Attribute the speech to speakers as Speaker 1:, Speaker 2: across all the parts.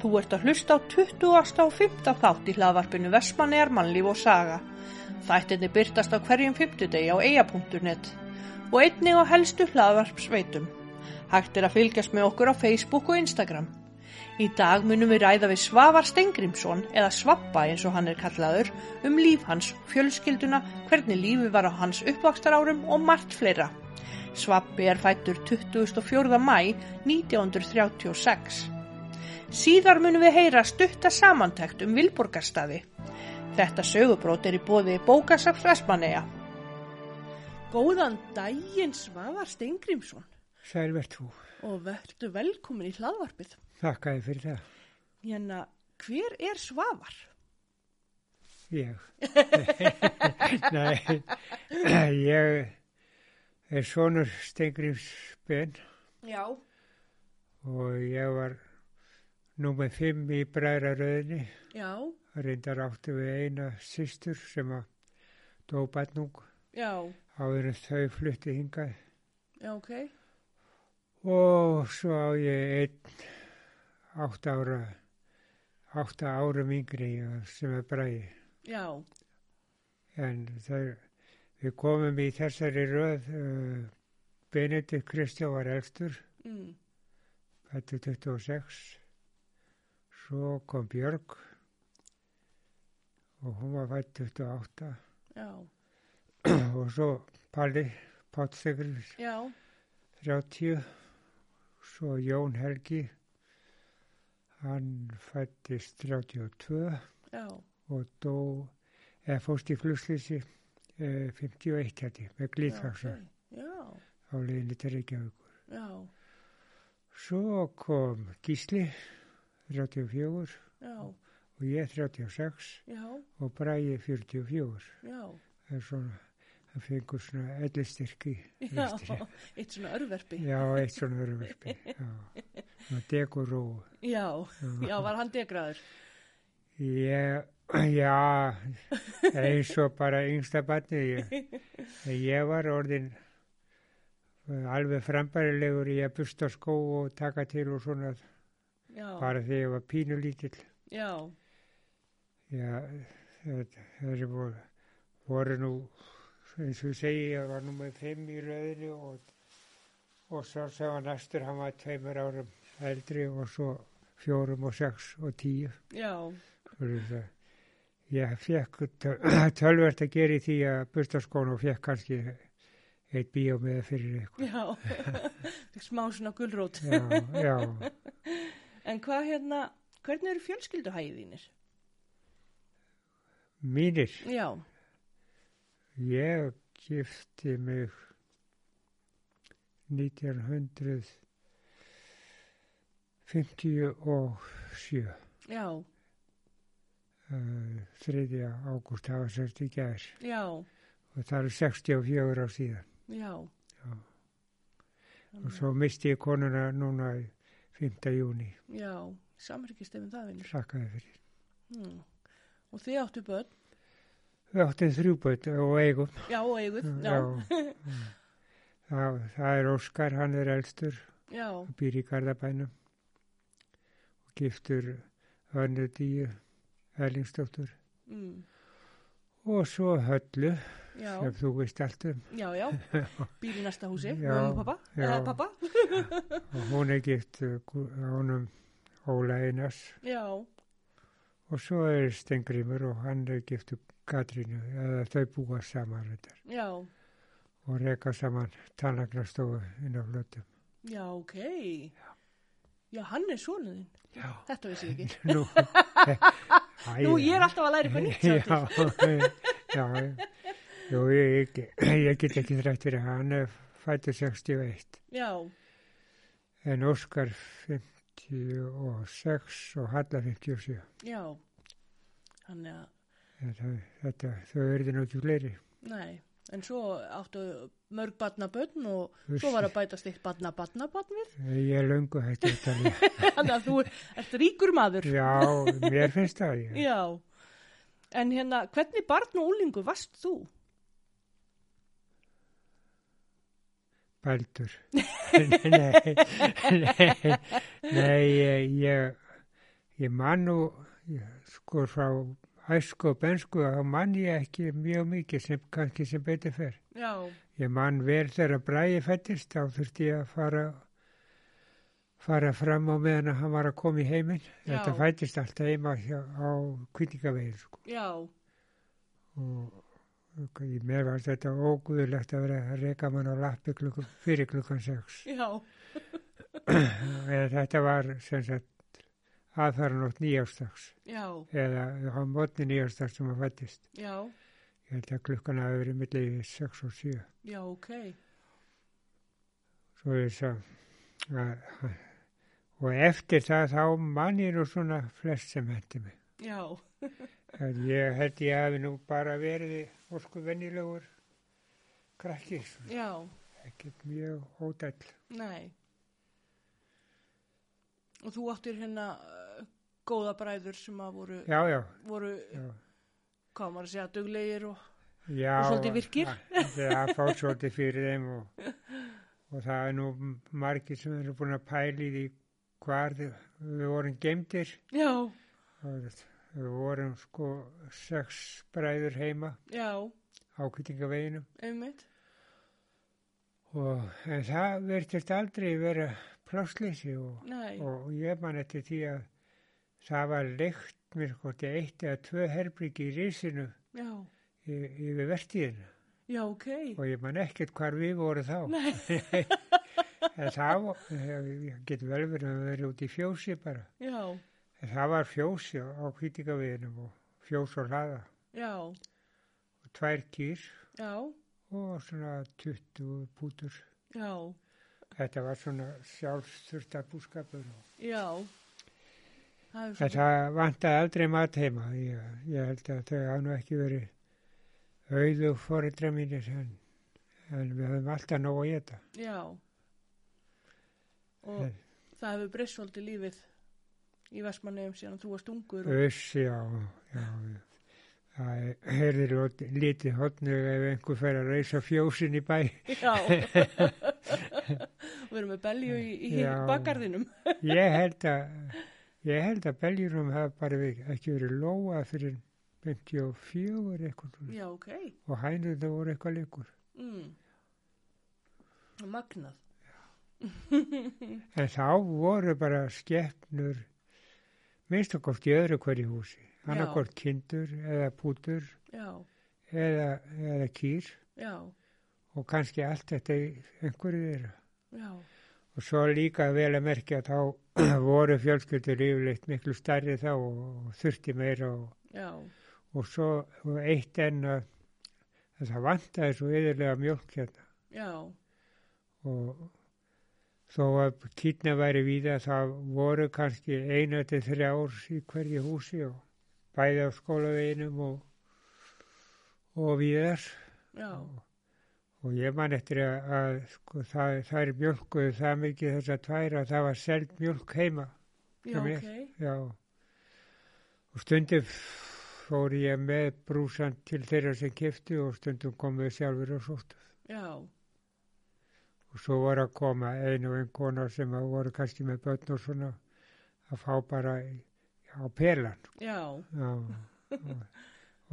Speaker 1: Þú ert að hlusta á 20. og 15. þátt í hlaðvarpinu Vestmannegar mannlíf og saga. Þættinni byrtast á hverjum 50 degi á eia.net og einnig á helstu hlaðvarpsveitum. Hægt er að fylgjast með okkur á Facebook og Instagram. Í dag munum við ræða við Svavar Stengrimsson eða Svabba eins og hann er kallaður um líf hans, fjölskylduna, hvernig lífi var á hans uppvakstarárum og margt fleira. Svabbi er fættur 24. mæ 1936. Síðar munum við heyra stutta samantækt um Vilborgarstaði. Þetta sögubrót er í bóði bókasafs Vestmanneja. Góðan daginn Svavar Steingrímsson
Speaker 2: Sæl verð þú,
Speaker 1: og verðu velkomin í hlaðvarpið.
Speaker 2: þakkaði fyrir það,
Speaker 1: Hérna, hver er Svavar?
Speaker 2: ég. Nei, ég er sonur Stengriðs Ben
Speaker 1: Já.
Speaker 2: og ég var númer fimm í bræðraröðinni,
Speaker 1: Já,
Speaker 2: reyndar áttu við eina systur sem að dó batnung
Speaker 1: já,
Speaker 2: áður en þau flutti hingað
Speaker 1: já, ok.
Speaker 2: og svo á ég einn átta ára, átta árum yngri sem er bræði.
Speaker 1: Já,
Speaker 2: En það, við komum í þessari röð, uh, Benedikt Kristján var elstur,
Speaker 1: mm.
Speaker 2: fættu 26, svo kom Björg og hún var fætt 28
Speaker 1: já,
Speaker 2: og svo Palli Páttsegur
Speaker 1: já,
Speaker 2: 30, svo Jón Helgi, hann fættist 32
Speaker 1: já,
Speaker 2: og dó, eða fórst í flugslýsi eh, 51 hætti með glýðfaksa.
Speaker 1: já,
Speaker 2: á leiðinni til Reykjavíkur.
Speaker 1: já,
Speaker 2: Svo kom Gísli 34
Speaker 1: já,
Speaker 2: og ég 36
Speaker 1: já,
Speaker 2: og Bræði 44.
Speaker 1: já,
Speaker 2: Það er svona, það fengur svona ellistyrki.
Speaker 1: já, eitt svona örverpi.
Speaker 2: Já, eitt svona örverfi. Já, svona degur og...
Speaker 1: Já, já, var hann degraður?
Speaker 2: Ég, já, eins og bara yngsta barni. Ég, ég var orðin alveg frambærilegur í að busta skó og taka til og svona
Speaker 1: Já,
Speaker 2: bara þegar ég var pínulítill.
Speaker 1: já,
Speaker 2: Já, þetta- þessi voru, voru nú, eins og ég segi, ég var nú með fimm í rauðinu og, og svo sem var næstur, hann var tveimur árum eldri og svo fjórum og sex og tíu.
Speaker 1: já,
Speaker 2: Fyrir það. Ég fekk töl- tölvert að gera í því að bustaskónu og fekk kannski eitt bíó með fyrir eitthvað.
Speaker 1: já, Fékk smá svona gulrót.
Speaker 2: Já, já,
Speaker 1: En hvað hérna, hvernig eru fjölskylduhæðið þínir?
Speaker 2: mínir.
Speaker 1: Já,
Speaker 2: Ég gifti mig 1957
Speaker 1: já,
Speaker 2: uh, 3. ágúst það var sérst í gær
Speaker 1: já,
Speaker 2: og það eru 64 ár síðan
Speaker 1: já,
Speaker 2: og svo misti ég konuna núna í 5. júni,
Speaker 1: já, samrykist ef það vinnur.
Speaker 2: sakkaði fyrir.
Speaker 1: Hmm. Og þið áttu börn,
Speaker 2: Við áttum þrjú böt og eigum.
Speaker 1: já, og eiguð, já,
Speaker 2: Það, það er Óskar, hann er elstur
Speaker 1: já,
Speaker 2: og býr í Garðabænum og giftur önnu díu Erlingsdóttur
Speaker 1: mm.
Speaker 2: og svo Höllu
Speaker 1: já,
Speaker 2: sem þú veist allt um
Speaker 1: já, já, býr í næsta húsi,
Speaker 2: Já,
Speaker 1: mamma og pappa,
Speaker 2: já.
Speaker 1: eða pappa,
Speaker 2: og hún er gift uh, Gu- honum Óla Einars
Speaker 1: já,
Speaker 2: og svo er Stengrimur og hann er giftur Katrínu eða þau búa saman reyndar
Speaker 1: já,
Speaker 2: og reka saman tannagnastofu inn á flötum.
Speaker 1: já, ok, já, hann er svonuðinn,
Speaker 2: Já.
Speaker 1: þetta vissi ég ekki.
Speaker 2: Nú, eh, æ,
Speaker 1: Nú, ég er alltaf að læra eitthvað nýtt
Speaker 2: já,
Speaker 1: samtíð.
Speaker 2: já, já. Jú, ég, ég, ég get ekki þrætt fyrir hann er fættur 61
Speaker 1: Já,
Speaker 2: en Óskar 56 og Halla 57
Speaker 1: já, hann er að,
Speaker 2: þetta, þetta, þau eru nú ekki fleiri
Speaker 1: Nei, en svo áttu mörg badnabönn og svo var að bætast eitt badna badna badn við.
Speaker 2: ég er löngu hættu að tala
Speaker 1: Þannig að þú ert ríkur maður.
Speaker 2: já, mér finnst það já.
Speaker 1: Já. En hérna, hvernig barn og úlingu varst þú?
Speaker 2: bældur nei, nei, nei ég, ég, Ég man nú, ég- sko, frá æsku og bensku, þá man ég ekki mjög mikið sem kannski sem betur fer.
Speaker 1: Já,
Speaker 2: Ég man vel þegar bræði fættist, þá þurfti ég að fara, fara fram á meðan að hann var að koma í heiminn.
Speaker 1: Já.
Speaker 2: Þetta fættist alltaf heima hjá, á kvítingavegin, sko.
Speaker 1: já,
Speaker 2: Og og í mér var þetta óguðulegt að vera að reka mann á lappi klukkan, fyrir klukkan sex.
Speaker 1: já,
Speaker 2: En þetta var sem sagt aðfaranótt nýjástags
Speaker 1: já,
Speaker 2: eða á mótni nýjástags sem að fættist.
Speaker 1: já,
Speaker 2: Ég held að klukkan hafi verið millir 6 og 7.
Speaker 1: já, ok.
Speaker 2: Svo þess að, að og eftir það þá mann ég nú svona flest sem hendi mig.
Speaker 1: Já,
Speaker 2: En ég held ég hafi nú bara verið ósku venjulegur krakki, svona,
Speaker 1: já,
Speaker 2: ekkert mjög ódæll.
Speaker 1: nei. Og þú áttir hérna uh, góða bræður sem að voru,
Speaker 2: Já, já,
Speaker 1: voru,
Speaker 2: já.
Speaker 1: hvað á maður að segja, duglegir og,
Speaker 2: Já,
Speaker 1: Og svolítið virkir.
Speaker 2: að- Það fá svolítið fyrir þeim og, og það er nú margir sem eru búin að pæli því hvar þau- við vorum gemdir.
Speaker 1: já,
Speaker 2: Við vorum sko sex bræður heima
Speaker 1: já,
Speaker 2: á kýtingaveginum
Speaker 1: einmitt.
Speaker 2: og en það verðist aldrei vera plássleysi og,
Speaker 1: Nei,
Speaker 2: og ég man eftir því að það var leikt mér sko til eitt eða tvö herbyggi í risinu
Speaker 1: já,
Speaker 2: y- yfir vertíðina
Speaker 1: já, ok.
Speaker 2: og ég man ekkert hvar við vorum þá.
Speaker 1: Nei,
Speaker 2: En það var, ég get vel verið að vera út í fjósi bara.
Speaker 1: já,
Speaker 2: En það var fjósi á kvítingaviðinum og fjós og hlaða.
Speaker 1: já,
Speaker 2: Og tvær kýr
Speaker 1: já,
Speaker 2: og svona 20 pútur.
Speaker 1: já,
Speaker 2: Þetta var svona sjálfsturta búskapur.
Speaker 1: já. Það er
Speaker 2: En
Speaker 1: svo,
Speaker 2: það vantaði aldrei mat heima. Ég, ég held að þau hafa nú ekki verið auðu fóreldra mínir en, en við höfum alltaf nóg að geta.
Speaker 1: já. Og
Speaker 2: En-
Speaker 1: það hefur breyst svolítið lífið í Vestmanneum síðan þú varst ungur og,
Speaker 2: Öss, já, já, já. Það er- heyrðir út lítið hotnug ef einhver fer að reysa fjósin í bæ.
Speaker 1: já við erum með belju í, í
Speaker 2: Já.
Speaker 1: bakgarðinum
Speaker 2: Ég held að, ég held að beljurum hafa bara við, ekki verið lóa fyrir 54 eitthvað svona.
Speaker 1: já ok
Speaker 2: og hænur það voru eitthvað leikur.
Speaker 1: mm. magnað
Speaker 2: En þá voru bara skeppnur, minnst og í öðru hverju húsi, annarkort kindur eða pútur
Speaker 1: já,
Speaker 2: eða, eða kýr
Speaker 1: já,
Speaker 2: og kannski allt þetta í einhverju þeirra.
Speaker 1: já
Speaker 2: Og svo líka vel að merkja að þá voru fjölskyldur yfirleitt miklu stærri þá og, og þurfti meira og
Speaker 1: já,
Speaker 2: og svo og eitt enn að að það vantaði svo yfirlega mjölk hérna
Speaker 1: já,
Speaker 2: og þó að kýtna væri víða það voru kannski einu til þrjá árs í hverju húsi og bæði á skólaveginum og, og víðar
Speaker 1: já
Speaker 2: og ég man eftir að, að sko, það, það er mjölkuð það mikið þess að tværa það var seld mjölk heima
Speaker 1: já,
Speaker 2: Hjá mér.
Speaker 1: ok
Speaker 2: já og stundum fór ég með brúsan til þeirra sem keftu og stundum kom við sjálfur og sóttu
Speaker 1: já,
Speaker 2: og svo voru að koma einu og einn konar sem að voru kannski með börn og svona að fá bara í- á pelan
Speaker 1: já,
Speaker 2: já, og,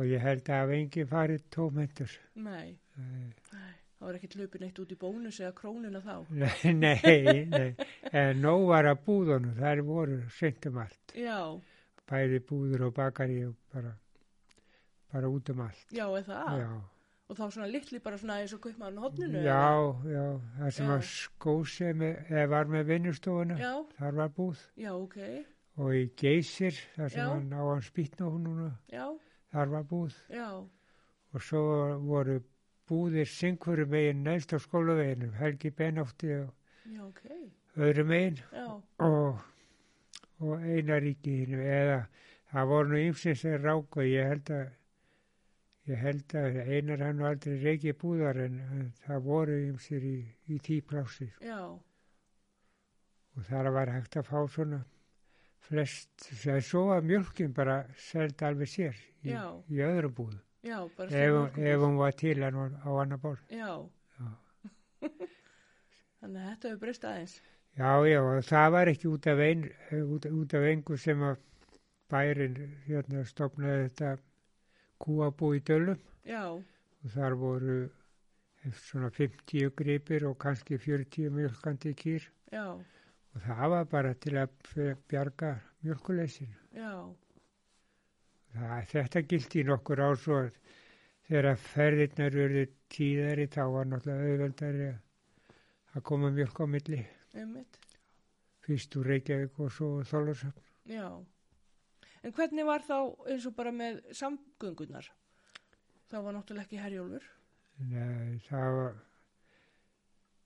Speaker 2: og ég held að hafa enginn farið tómendur
Speaker 1: nei það var ekkert hlupin eitt út í bónus eða krónuna þá
Speaker 2: nei, nei, nei en nóg var að búðunum þær voru seint um allt
Speaker 1: já,
Speaker 2: bæði búður og bakari og bara, bara út um allt
Speaker 1: já, eða það
Speaker 2: já
Speaker 1: og þá svona litli bara svona eins og kaupmaðurinn á hodninu eða?
Speaker 2: Já, já, það sem
Speaker 1: Já.
Speaker 2: að skósi með, eða var með vinnustofuna,
Speaker 1: já,
Speaker 2: þar var búð
Speaker 1: já, ok
Speaker 2: og í geysir, þar sem
Speaker 1: Já.
Speaker 2: hann á hann spýtna núna,
Speaker 1: já,
Speaker 2: þar var búð
Speaker 1: já,
Speaker 2: og svo voru búðir syngfuru megin neðst á skólaveginum, Helgi Benófti og
Speaker 1: já, ok
Speaker 2: öðru megin
Speaker 1: já,
Speaker 2: og, og einaríkinu eða það voru nú ymsins sem ráku, ég held að Ég held að einar hann var aldrei reikið búðar en en það voru ymsir í, í tí plási.
Speaker 1: já,
Speaker 2: og þar var hægt að fá svona flest, það er svo að mjölkin bara seld alveg sér í,
Speaker 1: Já.
Speaker 2: í öðru búð
Speaker 1: já, bara sem
Speaker 2: ef,
Speaker 1: mjólkurbúð.
Speaker 2: ef hún var til en hún á annar borð
Speaker 1: Já.
Speaker 2: Já.
Speaker 1: Þannig að þetta hefur breyst aðeins.
Speaker 2: Já, já, og það var ekki út af, ein, út, út af engu sem að bærin hérna stopnaði þetta kúabú í Dölum
Speaker 1: já,
Speaker 2: og þar voru svona 50 gripir og kannski 40 mjölkandi kýr
Speaker 1: já,
Speaker 2: og það var bara til að f- bjarga mjölkuleysin.
Speaker 1: já,
Speaker 2: Það, þetta gildi í nokkur ár svo að þegar ferðirnar verðu tíðari þá var náttúrulega auðveldari að koma mjölk á milli
Speaker 1: einmitt,
Speaker 2: fyrst úr Reykjavík og svo Þólasöfn.
Speaker 1: já. En hvernig var þá eins og bara með samgöngunar? Það var náttúrulega ekki herjólfur.
Speaker 2: Nei, eh, það var,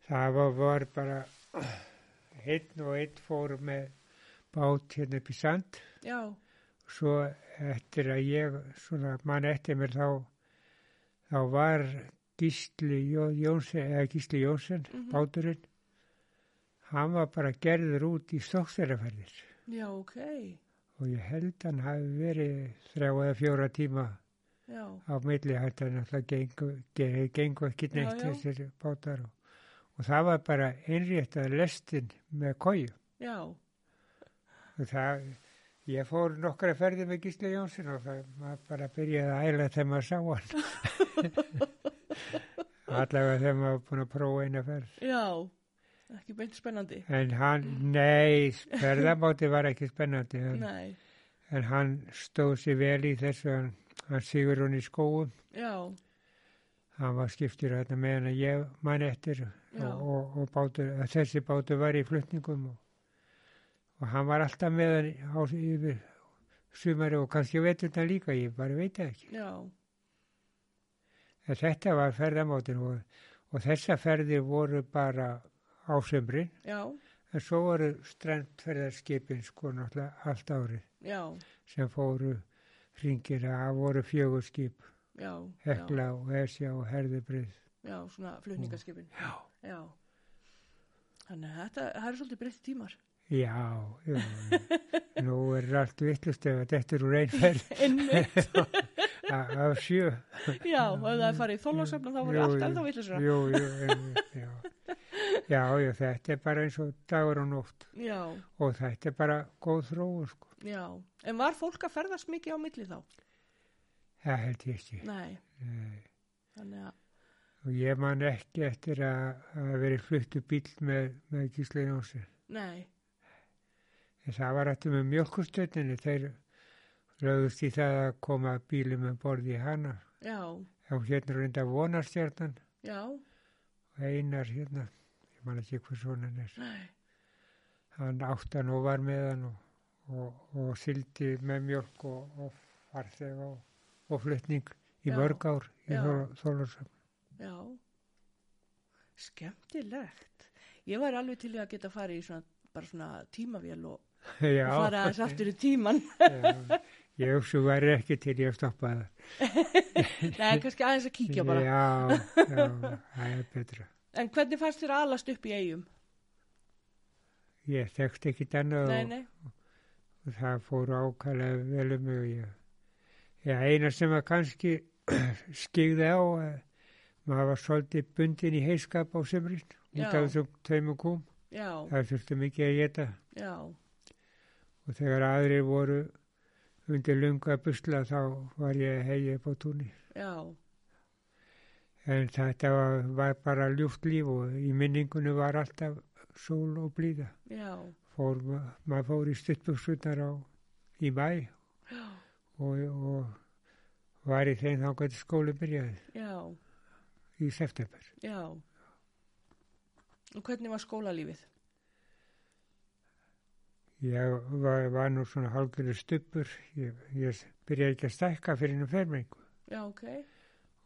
Speaker 2: það var, var bara einn og einn fór með bát hérna upp í sand.
Speaker 1: Já,
Speaker 2: Svo eftir að ég, svona mann eftir mér þá, þá var Gísli Jó- Jónsen, eða Gísli Jónsen,
Speaker 1: Mhm.
Speaker 2: báturinn, hann var bara gerður út í stókseraferðir
Speaker 1: já, ok,
Speaker 2: og ég held hann hafi verið þrjá eða fjóra tíma
Speaker 1: já,
Speaker 2: á milli þetta er náttúrulega gengu, ge- gengu ekki
Speaker 1: Já,
Speaker 2: neitt
Speaker 1: já.
Speaker 2: þessir bátar og, og það var bara einréttað lestin með kóju
Speaker 1: já,
Speaker 2: og það, ég fór nokkra ferði með Gísli Jónsson og það maður bara byrjaði að æla þegar maður sá hann allavega þegar maður var búin að prófa eina ferð
Speaker 1: já, ekki beint spennandi.
Speaker 2: en hann, nei ferðabáti var ekki spennandi en,
Speaker 1: Nei,
Speaker 2: en hann stóð sér vel í þessu hann, hann sigur hún í skóum
Speaker 1: já,
Speaker 2: hann var skiptur hérna meðan að ég mann eftir
Speaker 1: já,
Speaker 2: og, og, og bátur, að þessi bátur var í flutningum og, og hann var alltaf með hann á, yfir sumari og kannski veturna líka, ég bara veit það ekki.
Speaker 1: já,
Speaker 2: En þetta var ferðamátur og, og þessa ferðir voru bara á sömrin,
Speaker 1: já,
Speaker 2: en svo voru strandferðarskipin sko náttúrulega allt árið
Speaker 1: já,
Speaker 2: sem fóru hringir að það voru fjögur skip,
Speaker 1: já, já,
Speaker 2: Hekla og Esja og Herðubrið.
Speaker 1: já, svona flutningaskipin.
Speaker 2: Já.
Speaker 1: Já. Þannig að þetta, það er svolítið breytt tímar.
Speaker 2: Já, já, já. nú er allt vittlust ef að þetta er úr einferð
Speaker 1: Einmitt,
Speaker 2: a- af sjö.
Speaker 1: já, og ef það er farið í þólasöfnum þá verður
Speaker 2: Jú,
Speaker 1: allt
Speaker 2: jú,
Speaker 1: ennþá villisra.
Speaker 2: Jú, jú, einmitt, já. já, já, þetta er bara eins og dagur og nótt
Speaker 1: Já,
Speaker 2: og þetta er bara góð þróun, sko.
Speaker 1: já. En var fólk að ferðast mikið á milli þá?
Speaker 2: Það held ég ekki.
Speaker 1: Nei,
Speaker 2: Nei.
Speaker 1: þannig að,
Speaker 2: Og ég man ekki eftir að, að verið fluttu bíl með, með Gísla Jónsson.
Speaker 1: nei,
Speaker 2: En það var eftir með mjölkustöðinni, þeir lögðust í það að koma bílum með borði í hana.
Speaker 1: já,
Speaker 2: Þá hérna reynda vonarstjarnan
Speaker 1: já,
Speaker 2: Einar hérna, ég man ekki hvað svona hann er,
Speaker 1: nei,
Speaker 2: hann áttan og var með hann og, og, og sildi með mjölk og, og farþeg og, og flutning í
Speaker 1: Já,
Speaker 2: mörg ár í
Speaker 1: já.
Speaker 2: Þólarsam.
Speaker 1: já. Skemmtilegt. Ég var alveg til í að geta farið í svona, bara svona tímavél og,
Speaker 2: Já,
Speaker 1: og fara aðeins aftur í tíman.
Speaker 2: já, ég hugsa þú væri ekki til ég að stoppa það.
Speaker 1: nei, kannski aðeins að kíkja bara.
Speaker 2: Já, já, það er betra.
Speaker 1: En hvernig fannst þér að alast upp í eigum?
Speaker 2: Ég þekkt ekki annað
Speaker 1: Nei,
Speaker 2: og,
Speaker 1: nei,
Speaker 2: og það fór ákvæmlega vel um mig og ég. Já, eina sem að kannski skigði á, eh, maður var svolítið bundin í heiskap á semrin út
Speaker 1: Já.
Speaker 2: af þessum tveimur kúm.
Speaker 1: já,
Speaker 2: Það þurfti mikið að geta
Speaker 1: já,
Speaker 2: og þegar aðrir voru undir lunga busla þá var ég að hegja upp á túnni.
Speaker 1: já,
Speaker 2: En þetta var, var bara ljúft líf og í minningunni var alltaf sól og blíða.
Speaker 1: já,
Speaker 2: Fór, ma- maður fór í stuttbúrsunar á í mæ
Speaker 1: já.
Speaker 2: og, og var í þeim þá hvernig skóli byrjaði
Speaker 1: Já,
Speaker 2: í september.
Speaker 1: já. Og hvernig var skólalífið?
Speaker 2: Ég var, var nú svona hálfgjörður stuppur, ég, ég byrjaði ekki að stækka fyrir henni fermingu
Speaker 1: Já, ok.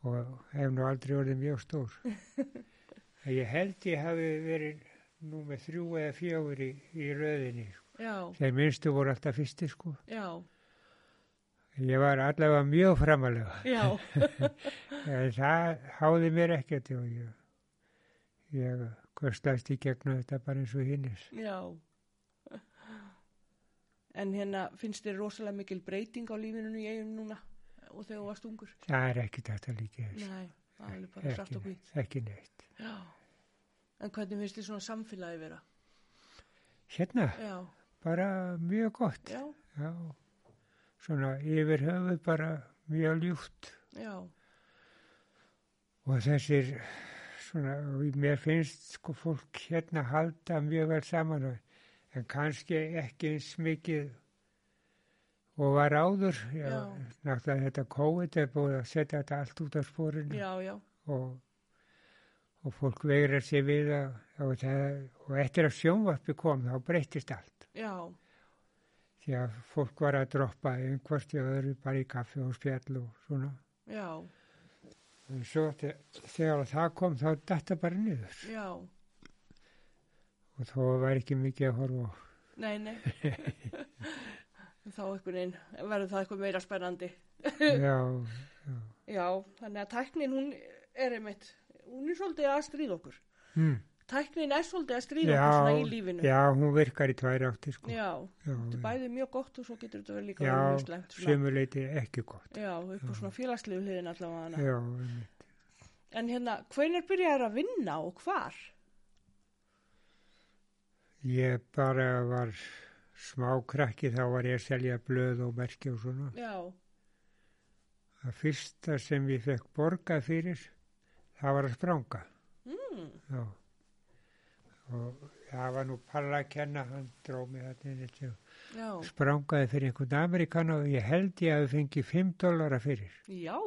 Speaker 2: og hef nú aldrei orðið mjög stór. En ég held ég hafi verið nú með þrjú eða fjögur í, í röðinni.
Speaker 1: Já,
Speaker 2: Þeir minnstu voru alltaf fyrsti sko.
Speaker 1: já,
Speaker 2: Ég var allavega mjög framalega.
Speaker 1: já,
Speaker 2: En það háði mér ekkert og ég, ég kostast í gegnum þetta bara eins og hinnis.
Speaker 1: já. En hérna finnst þér rosalega mikil breyting á lífinu í eigum núna og þegar þú varst ungur?
Speaker 2: Það er ekkert hægt að líka þess.
Speaker 1: Nei, það er bara svart og
Speaker 2: ekki,
Speaker 1: hvít.
Speaker 2: ekki neitt.
Speaker 1: Já. En hvernig finnst þér svona samfélagi vera?
Speaker 2: hérna,
Speaker 1: já,
Speaker 2: bara mjög gott.
Speaker 1: já,
Speaker 2: Já, svona yfir höfuð bara mjög ljúft
Speaker 1: já,
Speaker 2: og þessir svona, og mér finnst sko fólk hérna halda mjög vel saman og, en kannski ekki eins mikið og var áður. Já,
Speaker 1: Já.
Speaker 2: Náttúrulega þetta COVID er búið að setja þetta allt út á spórinu.
Speaker 1: já, já,
Speaker 2: og, og fólk veirar sér við að, og, það, og eftir að sjónvarpi kom þá breyttist allt
Speaker 1: já,
Speaker 2: því að fólk var að droppa einhvert í öðru bara í kaffi og spjall og svona
Speaker 1: já,
Speaker 2: en svo þe- þegar það kom þá datta bara niður
Speaker 1: já,
Speaker 2: og þó var ekki mikið að horfa á.
Speaker 1: nei, nei. Þá einhvern veginn verður það eitthvað meira spennandi.
Speaker 2: já,
Speaker 1: Já, þannig að tæknin hún er einmitt, hún er svolítið að stríða okkur.
Speaker 2: mm,
Speaker 1: Tæknin er svolítið að stríða okkur svona í lífinu.
Speaker 2: já, já, hún virkar í tvær átti sko
Speaker 1: Já,
Speaker 2: já,
Speaker 1: þetta er
Speaker 2: já,
Speaker 1: bæðið mjög gott og svo getur þetta verið líka
Speaker 2: já
Speaker 1: verið mjög slengt.
Speaker 2: sömuleyti ekki gott
Speaker 1: Já, upp á svona félagslegu hliðin allavega hana.
Speaker 2: já, einmitt.
Speaker 1: En hérna, hvenær byrjar að vinna og hvar?
Speaker 2: ég bara var smákrakki þá var ég að selja blöð og merki og svona
Speaker 1: Já,
Speaker 2: Það fyrsta sem ég fekk borgað fyrir, það var að spranga.
Speaker 1: mm,
Speaker 2: Já. Og það var nú Palla að kenna, hann dróð mig þarna inn eftir og
Speaker 1: já,
Speaker 2: sprangaði fyrir einhvern Amerikan og ég held ég að við fengið 5 dollara fyrir.
Speaker 1: já,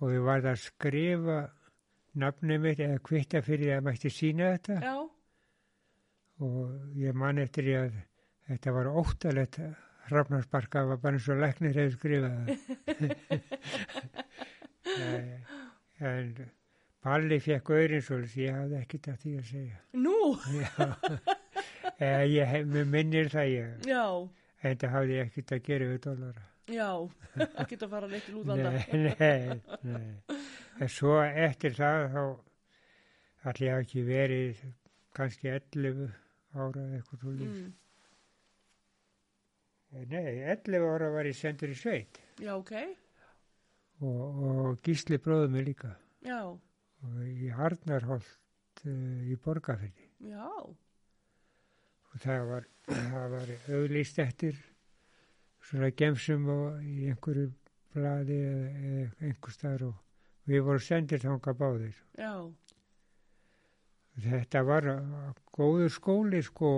Speaker 2: Og ég varð að skrifa nafnið mitt eða kvitta fyrir því að mætti sína þetta
Speaker 1: já,
Speaker 2: og ég man eftir ég að þetta var óttalegt hrafnarsparka, það var bara eins og læknir hefur skrifað það. Eh, en Palli fekk auðrin svolítið, ég hafði ekkert að því að segja.
Speaker 1: nú,
Speaker 2: Já, eh, ég hef- mig minnir það ég,
Speaker 1: já,
Speaker 2: en það hafði ég ekkert að gera við dólara.
Speaker 1: já, að geta að fara neitt til útlanda.
Speaker 2: Nei, nei, nei. En svo eftir það þá allir ég hafi ekki verið kannski 11 ára eða eitthvað svo líf.
Speaker 1: Mm,
Speaker 2: Nei, 11 ára var ég sendur í sveit
Speaker 1: já, ok,
Speaker 2: og, og gísli bróðum mig líka
Speaker 1: já,
Speaker 2: og í Arnarholt uh, í Borgafyrði
Speaker 1: já,
Speaker 2: og það var, það var auðlýst eftir svona gemsum og í einhverju blaði eða, eða einhver staðar og við vorum sendir þanga báðir.
Speaker 1: já,
Speaker 2: Þetta var uh, góður skóli sko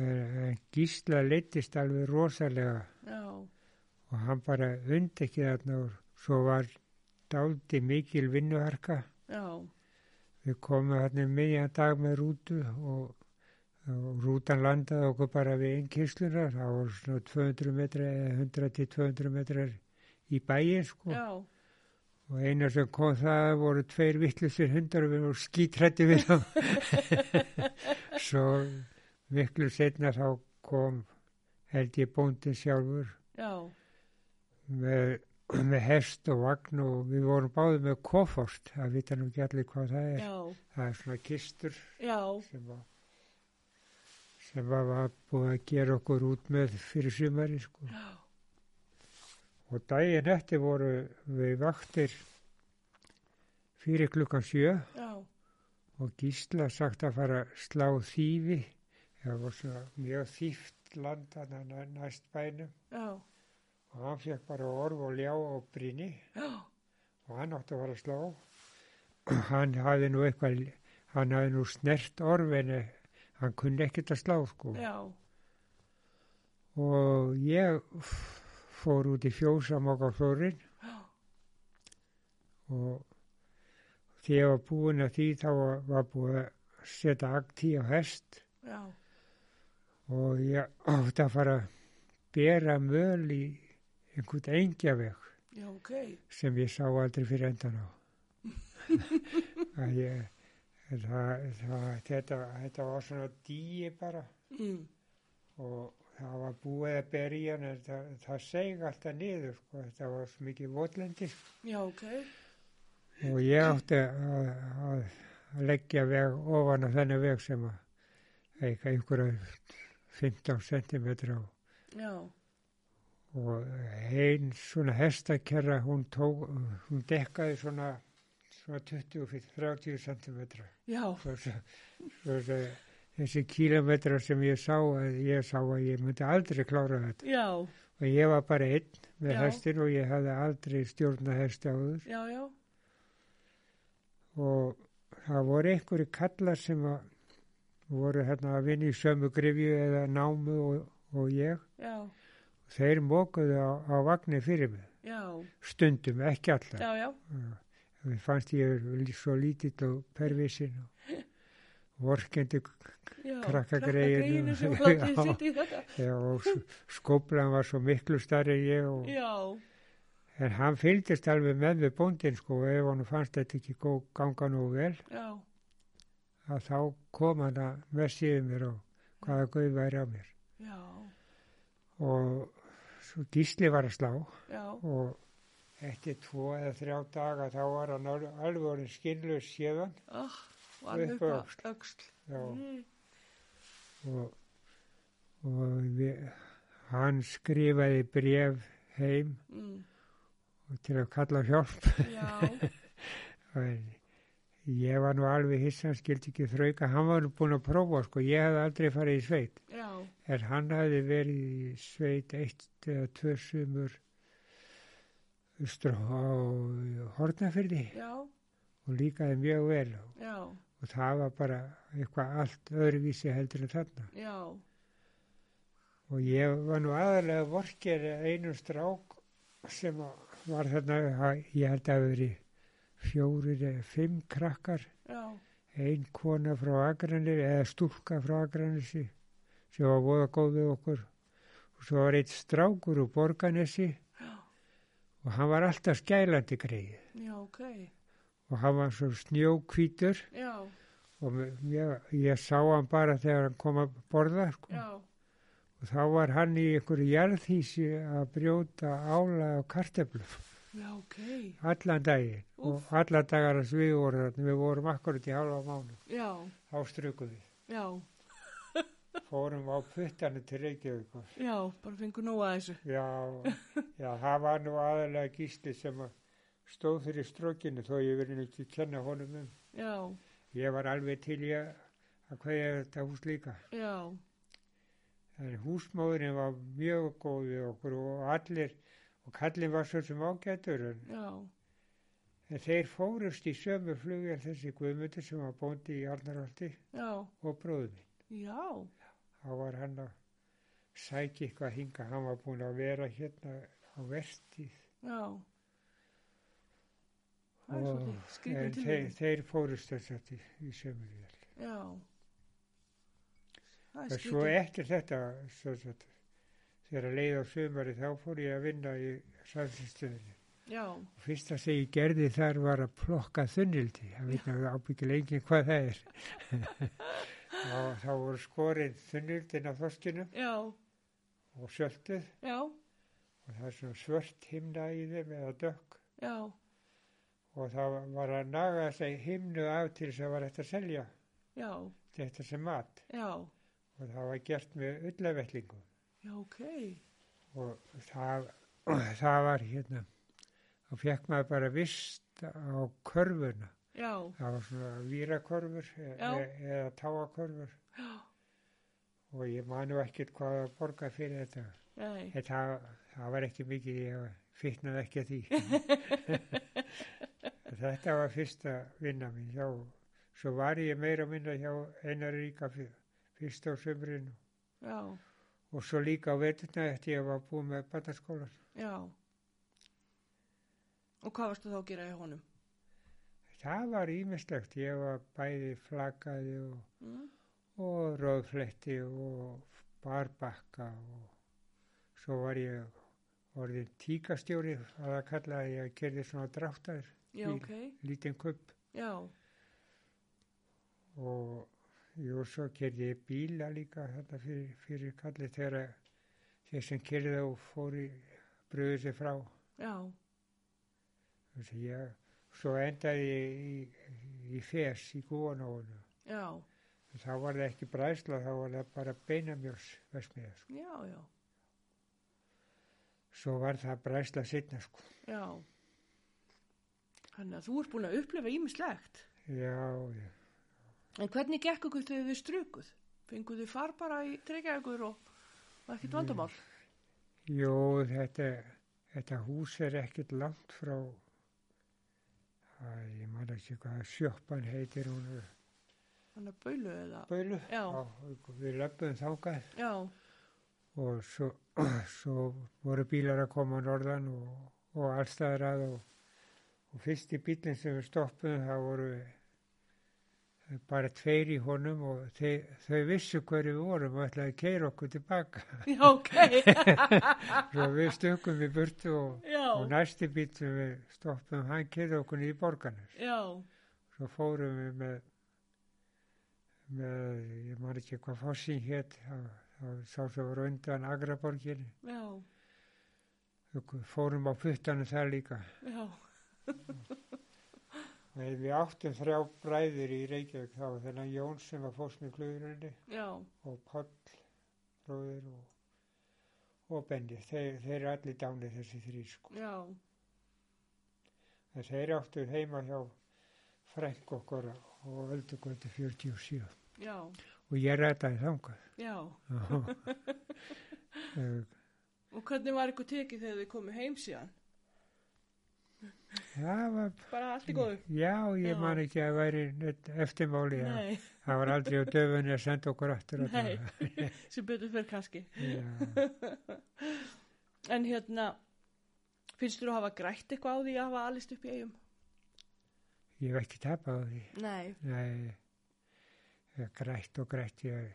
Speaker 2: en en Gísla leittist alveg rosalega
Speaker 1: já,
Speaker 2: og hann bara undi ekki þarna og svo var dáldi mikil vinnuharka.
Speaker 1: já,
Speaker 2: Við komum þarna um miðjan dag með rútu og, og rútan landaði okkur bara við einn kysluna. Það voru svona 200 metrar eða 100 til 200 metrar í bæin sko.
Speaker 1: já,
Speaker 2: Og eina sem kom það voru tveir vittlusir hundar og við vorum skítrætti við þá. Svo miklu setna þá kom held ég bóndin sjálfur
Speaker 1: já,
Speaker 2: með, með hest og vagn og við vorum báðið með kofost, það vita nú ekki allir hvað það er.
Speaker 1: já,
Speaker 2: Það er svona kistur
Speaker 1: já,
Speaker 2: sem var, sem var, var búið að gera okkur út með fyrir sumari sko.
Speaker 1: já,
Speaker 2: Og daginn eftir voru við vaktir fyrir klukkan sjö
Speaker 1: já,
Speaker 2: og Gísla sagt að fara að slá þýfi. Það var svona mjög þýft land þarna næ- næst bænum
Speaker 1: já,
Speaker 2: og hann fekk bara orð og ljá og brinni.
Speaker 1: já,
Speaker 2: og hann átti að fara að slá hann hafði nú eitthvað hann hafði nú snert orf en eh, hann kunni ekkert að slá sko
Speaker 1: já,
Speaker 2: og ég f- fór út í fjósamokk á fjórin og þegar ég var búin að því þá var, var búið að setja aktí á hest
Speaker 1: já,
Speaker 2: og ég átti að fara að bera möl í einhvern engjaveg
Speaker 1: já, ok,
Speaker 2: sem ég sá aldrei fyrir endan á. Að ég, það, það, þetta, þetta var svona dýi bara
Speaker 1: mm,
Speaker 2: og það var búið að berja hann en það, það seg alltaf niður sko, þetta var svo mikið votlendi
Speaker 1: já, ok,
Speaker 2: og ég átti að, að, að leggja veg ofan á þennan veg sem að eitthvað einhverja 15 cm á
Speaker 1: já,
Speaker 2: og ein svona hestakerra hún tók, hún dekkaði svona, svona 20-30 cm
Speaker 1: já,
Speaker 2: svo, svo, svo, svo þessi kílometra sem ég sá að ég sá að ég myndi aldrei klára þetta
Speaker 1: já,
Speaker 2: og ég var bara einn með
Speaker 1: Já.
Speaker 2: hestin og ég hafði aldrei stjórna hesti áður
Speaker 1: já, já,
Speaker 2: og það voru einhverju kallar sem að voru hérna að vinna í sömu grifju eða námu og, og ég
Speaker 1: já,
Speaker 2: þeir mókuðu á, á vagnir fyrir mig
Speaker 1: já,
Speaker 2: stundum, ekki alltaf
Speaker 1: já, já,
Speaker 2: Mér fannst ég lí- svo lítill og pervisin og vorkendi
Speaker 1: já.
Speaker 2: Krakkagreyinu.
Speaker 1: sem látið
Speaker 2: Já.
Speaker 1: sitt í þetta.
Speaker 2: og skóplan var svo miklu starri en ég og,
Speaker 1: Já,
Speaker 2: en hann fylgdist alveg með með bóndin sko og ef hann fannst þetta ekki góð ganga nú vel
Speaker 1: já,
Speaker 2: að þá kom hann að með síðu mér og hvaða guð væri á mér
Speaker 1: já,
Speaker 2: og svo gísli var að slá
Speaker 1: já,
Speaker 2: og eftir tvo eða þrjá daga þá var hann al- alveg orðin skinnlaus séðan
Speaker 1: ah, var
Speaker 2: Upp
Speaker 1: upp
Speaker 2: á
Speaker 1: að öxl.
Speaker 2: já,
Speaker 1: Mm,
Speaker 2: og, og við, hann skrifaði bref heim
Speaker 1: mm,
Speaker 2: til að kalla á hjálp
Speaker 1: já,
Speaker 2: en ég var nú alveg hissan skildi ekki þrauka, hann var nú búin að prófa sko, ég hafði aldrei farið í sveit
Speaker 1: já,
Speaker 2: En hann hafði verið í sveit eitt eða tvö sumur austur á Hortnafyrði
Speaker 1: já,
Speaker 2: og líkaði mjög vel og
Speaker 1: já,
Speaker 2: það var bara eitthvað allt öðruvísi heldur en þarna.
Speaker 1: já,
Speaker 2: Og ég var nú aðalega vorkir einum strák sem að var þarna, ha- ég held að hafi verið fjórir eða fimm krakkar,
Speaker 1: já,
Speaker 2: ein kona frá Akranir eða stúlka frá Akranirsi sem var voða góð við okkur og svo var eitt strákur úr Borganesi
Speaker 1: já,
Speaker 2: og hann var alltaf skælandi greið
Speaker 1: já, ok,
Speaker 2: og hann var svo snjókvítur
Speaker 1: já,
Speaker 2: og m- ég, ég sá hann bara þegar hann kom að borða sko.
Speaker 1: já,
Speaker 2: og þá var hann í einhverju jarðhísi að brjóta ála og karteflum
Speaker 1: já, ok,
Speaker 2: allan daginn og alla dagar að við vorum við vorum akkurat í halva mánu
Speaker 1: já,
Speaker 2: þá strukum við
Speaker 1: já,
Speaker 2: fórum á puttanu til Reykjavík og
Speaker 1: já, bara fengur nóg að þessu.
Speaker 2: Já, já, það var nú aðalega gísli sem að stóð fyrir strókinu þó ég verið nú ekki að kenna honum um.
Speaker 1: Já,
Speaker 2: Ég var alveg til ég að kveðja þetta hús líka.
Speaker 1: já,
Speaker 2: En húsmóðurinn var mjög góð við okkur og allir, og kallinn var svo sem ágætur. En,
Speaker 1: já,
Speaker 2: en þeir fórust í sömu flugjar þessi guðmundur sem var bóndi í Arnarholti
Speaker 1: já,
Speaker 2: og bróðum.
Speaker 1: já,
Speaker 2: Þá var hann að sækja eitthvað hinga, hann var búin að vera hérna á vertíð.
Speaker 1: já. Það er
Speaker 2: Og-
Speaker 1: svolítið
Speaker 2: En
Speaker 1: skrýtum
Speaker 2: þeir,
Speaker 1: tilvíðin.
Speaker 2: þeir fórust þess að í, í sömu flugjar.
Speaker 1: Já. Það
Speaker 2: En
Speaker 1: er
Speaker 2: svo
Speaker 1: skrýtum.
Speaker 2: eftir þetta, svo, svo, þegar að leið á sumari, þá fór ég að vinna í samfélstöðinni.
Speaker 1: Já,
Speaker 2: Og fyrsta sem ég gerði þar var að plokka þunnildi. Það veit að ábyggilega enginn hvað það er. þá, þá voru skorinn þunnildin á þoskinu
Speaker 1: já,
Speaker 2: og sölduð
Speaker 1: já,
Speaker 2: og það er svona svört himna í þeim eða dökk.
Speaker 1: já,
Speaker 2: Og það var að naga þessa himnu af til þess að var þetta að selja
Speaker 1: já,
Speaker 2: þetta sem mat.
Speaker 1: já,
Speaker 2: Og það var gert með ullavetlingu.
Speaker 1: já, ok.
Speaker 2: og það, það var hérna þá fekk maður bara vist á körfuna
Speaker 1: Já,
Speaker 2: það var svona vírakörfur eh, e
Speaker 1: Já.
Speaker 2: e eða táakörfur
Speaker 1: já,
Speaker 2: og ég manu ekkert hvað að borga fyrir þetta
Speaker 1: nei,
Speaker 2: en það, það var ekki mikið ég fitnaði ekki að því þetta var fyrsta vinna mín hjá, svo var ég meira og minna hjá einar ríka fyr- fyrst á sömrinu
Speaker 1: já,
Speaker 2: og svo líka á veturna eftir ég var búið með bandaskólan
Speaker 1: já. Og hvað varstu þá að gera í honum?
Speaker 2: Það var ímislegt, ég var bæði flakaði og,
Speaker 1: Mm?
Speaker 2: og rauðfletti og barbakka og svo var ég orðin tíkastjóri, það var kallað að ég gerði svona dráttar,
Speaker 1: Já,
Speaker 2: Í-
Speaker 1: ok,
Speaker 2: lítinn kupp
Speaker 1: já,
Speaker 2: og jú, svo gerði ég bíla líka þetta fyrir, fyrir kallið þegar þeir sem gerði og fóri bröðu sér frá.
Speaker 1: já,
Speaker 2: Þannig að Ég, svo endaði ég í, í, í fes í gúanónu.
Speaker 1: já,
Speaker 2: Þá var það ekki bræðsla, þá var það bara beinamjöls versmiða. Sko.
Speaker 1: já, já,
Speaker 2: Svo var það bræðsla sitna, sko.
Speaker 1: já. Þannig að þú ert búin að upplifa ímislegt.
Speaker 2: Já, já.
Speaker 1: En hvernig gekk okkur þegar við strukuð? Fenguð þið far bara í treykjaðugur og, og ekkert vandamál?
Speaker 2: Jú, þetta, þetta hús er ekkert langt frá, að, ég man ekki hvað sjöppan heitir hún, er-
Speaker 1: Þannig að baulu eða?
Speaker 2: Baulu.
Speaker 1: Já.
Speaker 2: Já, Við löpum þangað
Speaker 1: Já,
Speaker 2: og svo, svo voru bílar að koma á norðan og, og allstaðar að og, og fyrst í bílinn sem við stoppuðum það voru bara tveir í honum og þau, þau vissu hverju við vorum og ætlaði að keira okkur tilbaka.
Speaker 1: já, ok.
Speaker 2: Svo við stökkum í burtu og Og
Speaker 1: já,
Speaker 2: næsti bíl sem við stoppum, hann keirði okkur í borganes.
Speaker 1: já,
Speaker 2: Svo fórum við með, með ég man ekki hvað fossin hétt, það- það sá sem var undan Agraborginni.
Speaker 1: já,
Speaker 2: Við Fórum á puttanum þar líka.
Speaker 1: já,
Speaker 2: Nei, Við áttum þrjá bræður í Reykjavík þá, þennan Jón sem var fórst með glöðurinni
Speaker 1: já,
Speaker 2: og Pall, bróður og, og Bendi. Þeir, þeir eru allir dánir þessi þrý sko.
Speaker 1: já,
Speaker 2: En þeir áttu heima hjá frænk okkar og öldugöldu 47.
Speaker 1: já,
Speaker 2: og ég rætaði þangað.
Speaker 1: já.
Speaker 2: Já. Eh,
Speaker 1: Og hvernig var ykkur tekið þegar þið komið heim síðan?
Speaker 2: Það var,
Speaker 1: Bara allt í góðu?
Speaker 2: já,
Speaker 1: Já.
Speaker 2: ég man ekki að væri neitt eftirmáli. Já.
Speaker 1: Nei,
Speaker 2: Það var aldrei á döfunni að senda okkur aftur. að
Speaker 1: Nei.
Speaker 2: það.
Speaker 1: sem betur fyrir kannski.
Speaker 2: Já.
Speaker 1: En hérna, finnst þú að hafa grætt eitthvað á því að hafa alist upp í eigum?
Speaker 2: Ég hef ekki tapað á því.
Speaker 1: Nei.
Speaker 2: Nei, eh, grætt og grætt, ég,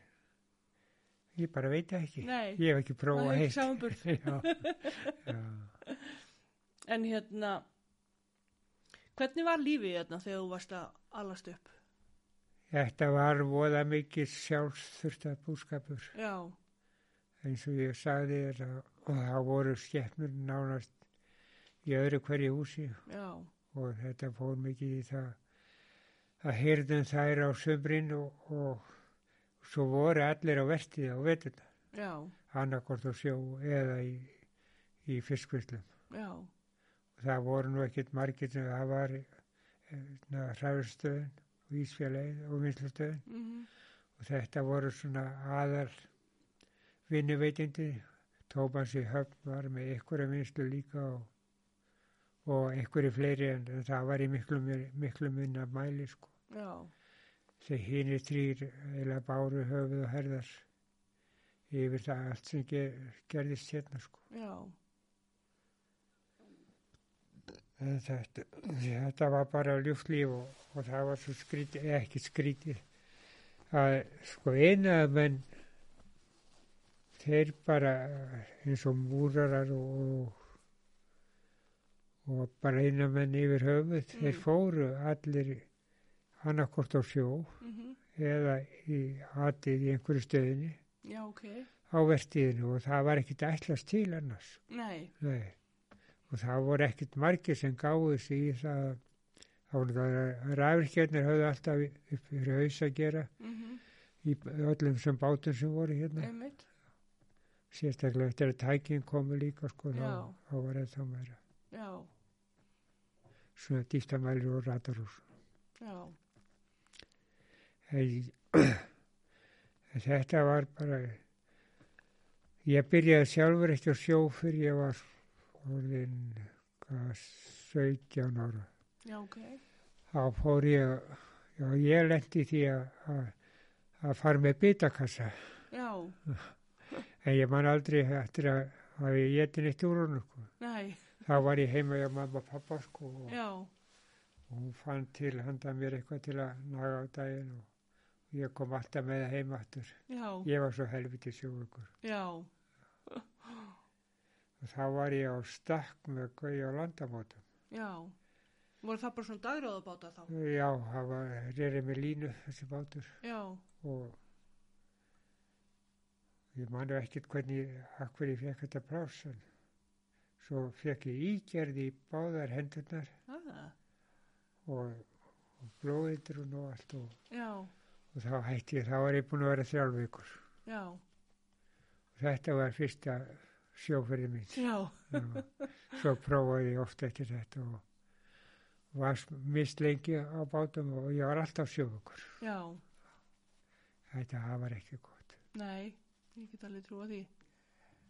Speaker 2: ég bara veit það ekki.
Speaker 1: Nei.
Speaker 2: Ég hef ekki
Speaker 1: maður
Speaker 2: prófað
Speaker 1: hefur
Speaker 2: heitt.
Speaker 1: ekki samanburð.
Speaker 2: já, já.
Speaker 1: En hérna, hvernig var lífið hérna þegar þú varst að alast upp?
Speaker 2: Þetta var voða mikið sjálfsþurftað búskapur.
Speaker 1: Já,
Speaker 2: eins og ég sagði þér að og það voru skepnur nánast í öðru hverju húsi
Speaker 1: já,
Speaker 2: og þetta fór mikið í það að heyrðum þær á sömbrinn og, og svo voru allir á vertið á veturna
Speaker 1: já,
Speaker 2: annarkort á sjó eða í, í fiskvillum.
Speaker 1: já,
Speaker 2: Það voru nú ekkert margir sem það var hræðurstöðin og Ísfjallegið og vinslustöðin
Speaker 1: mm
Speaker 2: og þetta voru svona aðal vinnuveitindi Tómas í höfn var með einhverja vinslu líka og, og einhverju fleiri en en það var í miklu, meir- miklu minna mæli sko.
Speaker 1: já,
Speaker 2: Þegar hinir þrýr eða báru höfuð og herðar yfir það allt sem ge, gerðist hérna sko.
Speaker 1: já,
Speaker 2: En Eh, Þetta, þetta var bara ljúft líf og, og það var svo skrítið, eða ekki skrítið að sko einaða menn þeir bara eh, eins og múrarar og, og bara einaða menn yfir höfuð þeir
Speaker 1: Mm.
Speaker 2: fóru allir annarkort á sjó
Speaker 1: mm
Speaker 2: eða í hatið í einhverju stöðinni
Speaker 1: já, ok,
Speaker 2: á vertiðinu og það var ekkit ætlast til annars.
Speaker 1: nei,
Speaker 2: Nei, og það voru ekkert margir sem gáðu sig í það að- þá voru það ræfirkjarnir höfðu alltaf upp fyrir haus að gera
Speaker 1: mm
Speaker 2: í öllum sem bátum sem voru hérna
Speaker 1: einmitt,
Speaker 2: sérstaklega eftir að tækin komu líka sko þá,
Speaker 1: Já.
Speaker 2: þá var þetta meira
Speaker 1: já,
Speaker 2: svona dýstamælir og ratarús
Speaker 1: já,
Speaker 2: en, en þetta var bara ég byrjaði sjálfur eitt á sjó fyrir ég var orðin hvað, 17 ára
Speaker 1: já, ok,
Speaker 2: þá fór ég, já ég lendi því að, að, að fara með bitakassa
Speaker 1: já,
Speaker 2: en ég man aldrei eftir að, að ég geti neitt úr hún sko.
Speaker 1: nei,
Speaker 2: þá var ég heima hjá mamma og pappa sko og,
Speaker 1: já,
Speaker 2: og hún fann til handa mér eitthvað til að naga á daginn og, ég kom alltaf með það heima aftur
Speaker 1: já,
Speaker 2: ég var svo helviti sjóugur
Speaker 1: já,
Speaker 2: og þá var ég á stakk með gauði á landamótum
Speaker 1: já, voru það bara svona dagráðabáta þá?
Speaker 2: já, það var reyðið með línu þessi bátur
Speaker 1: Já,
Speaker 2: og ég manu ekkert hvernig akkur ég fekk þetta pláss en svo fekk ég ígerði í báðar hendurnar
Speaker 1: aða,
Speaker 2: og, og blóðitrun og allt og,
Speaker 1: já,
Speaker 2: og þá hætti ég, þá var ég búin að vera þrjálf vikur
Speaker 1: já,
Speaker 2: og þetta var fyrsta sjóferði mín
Speaker 1: já,
Speaker 2: og svo prófaði ég oft eftir þetta og var mist lengi á bátum og ég var alltaf sjófugur
Speaker 1: já,
Speaker 2: þetta það var ekki gott.
Speaker 1: Nei, ég get alveg trúa því. En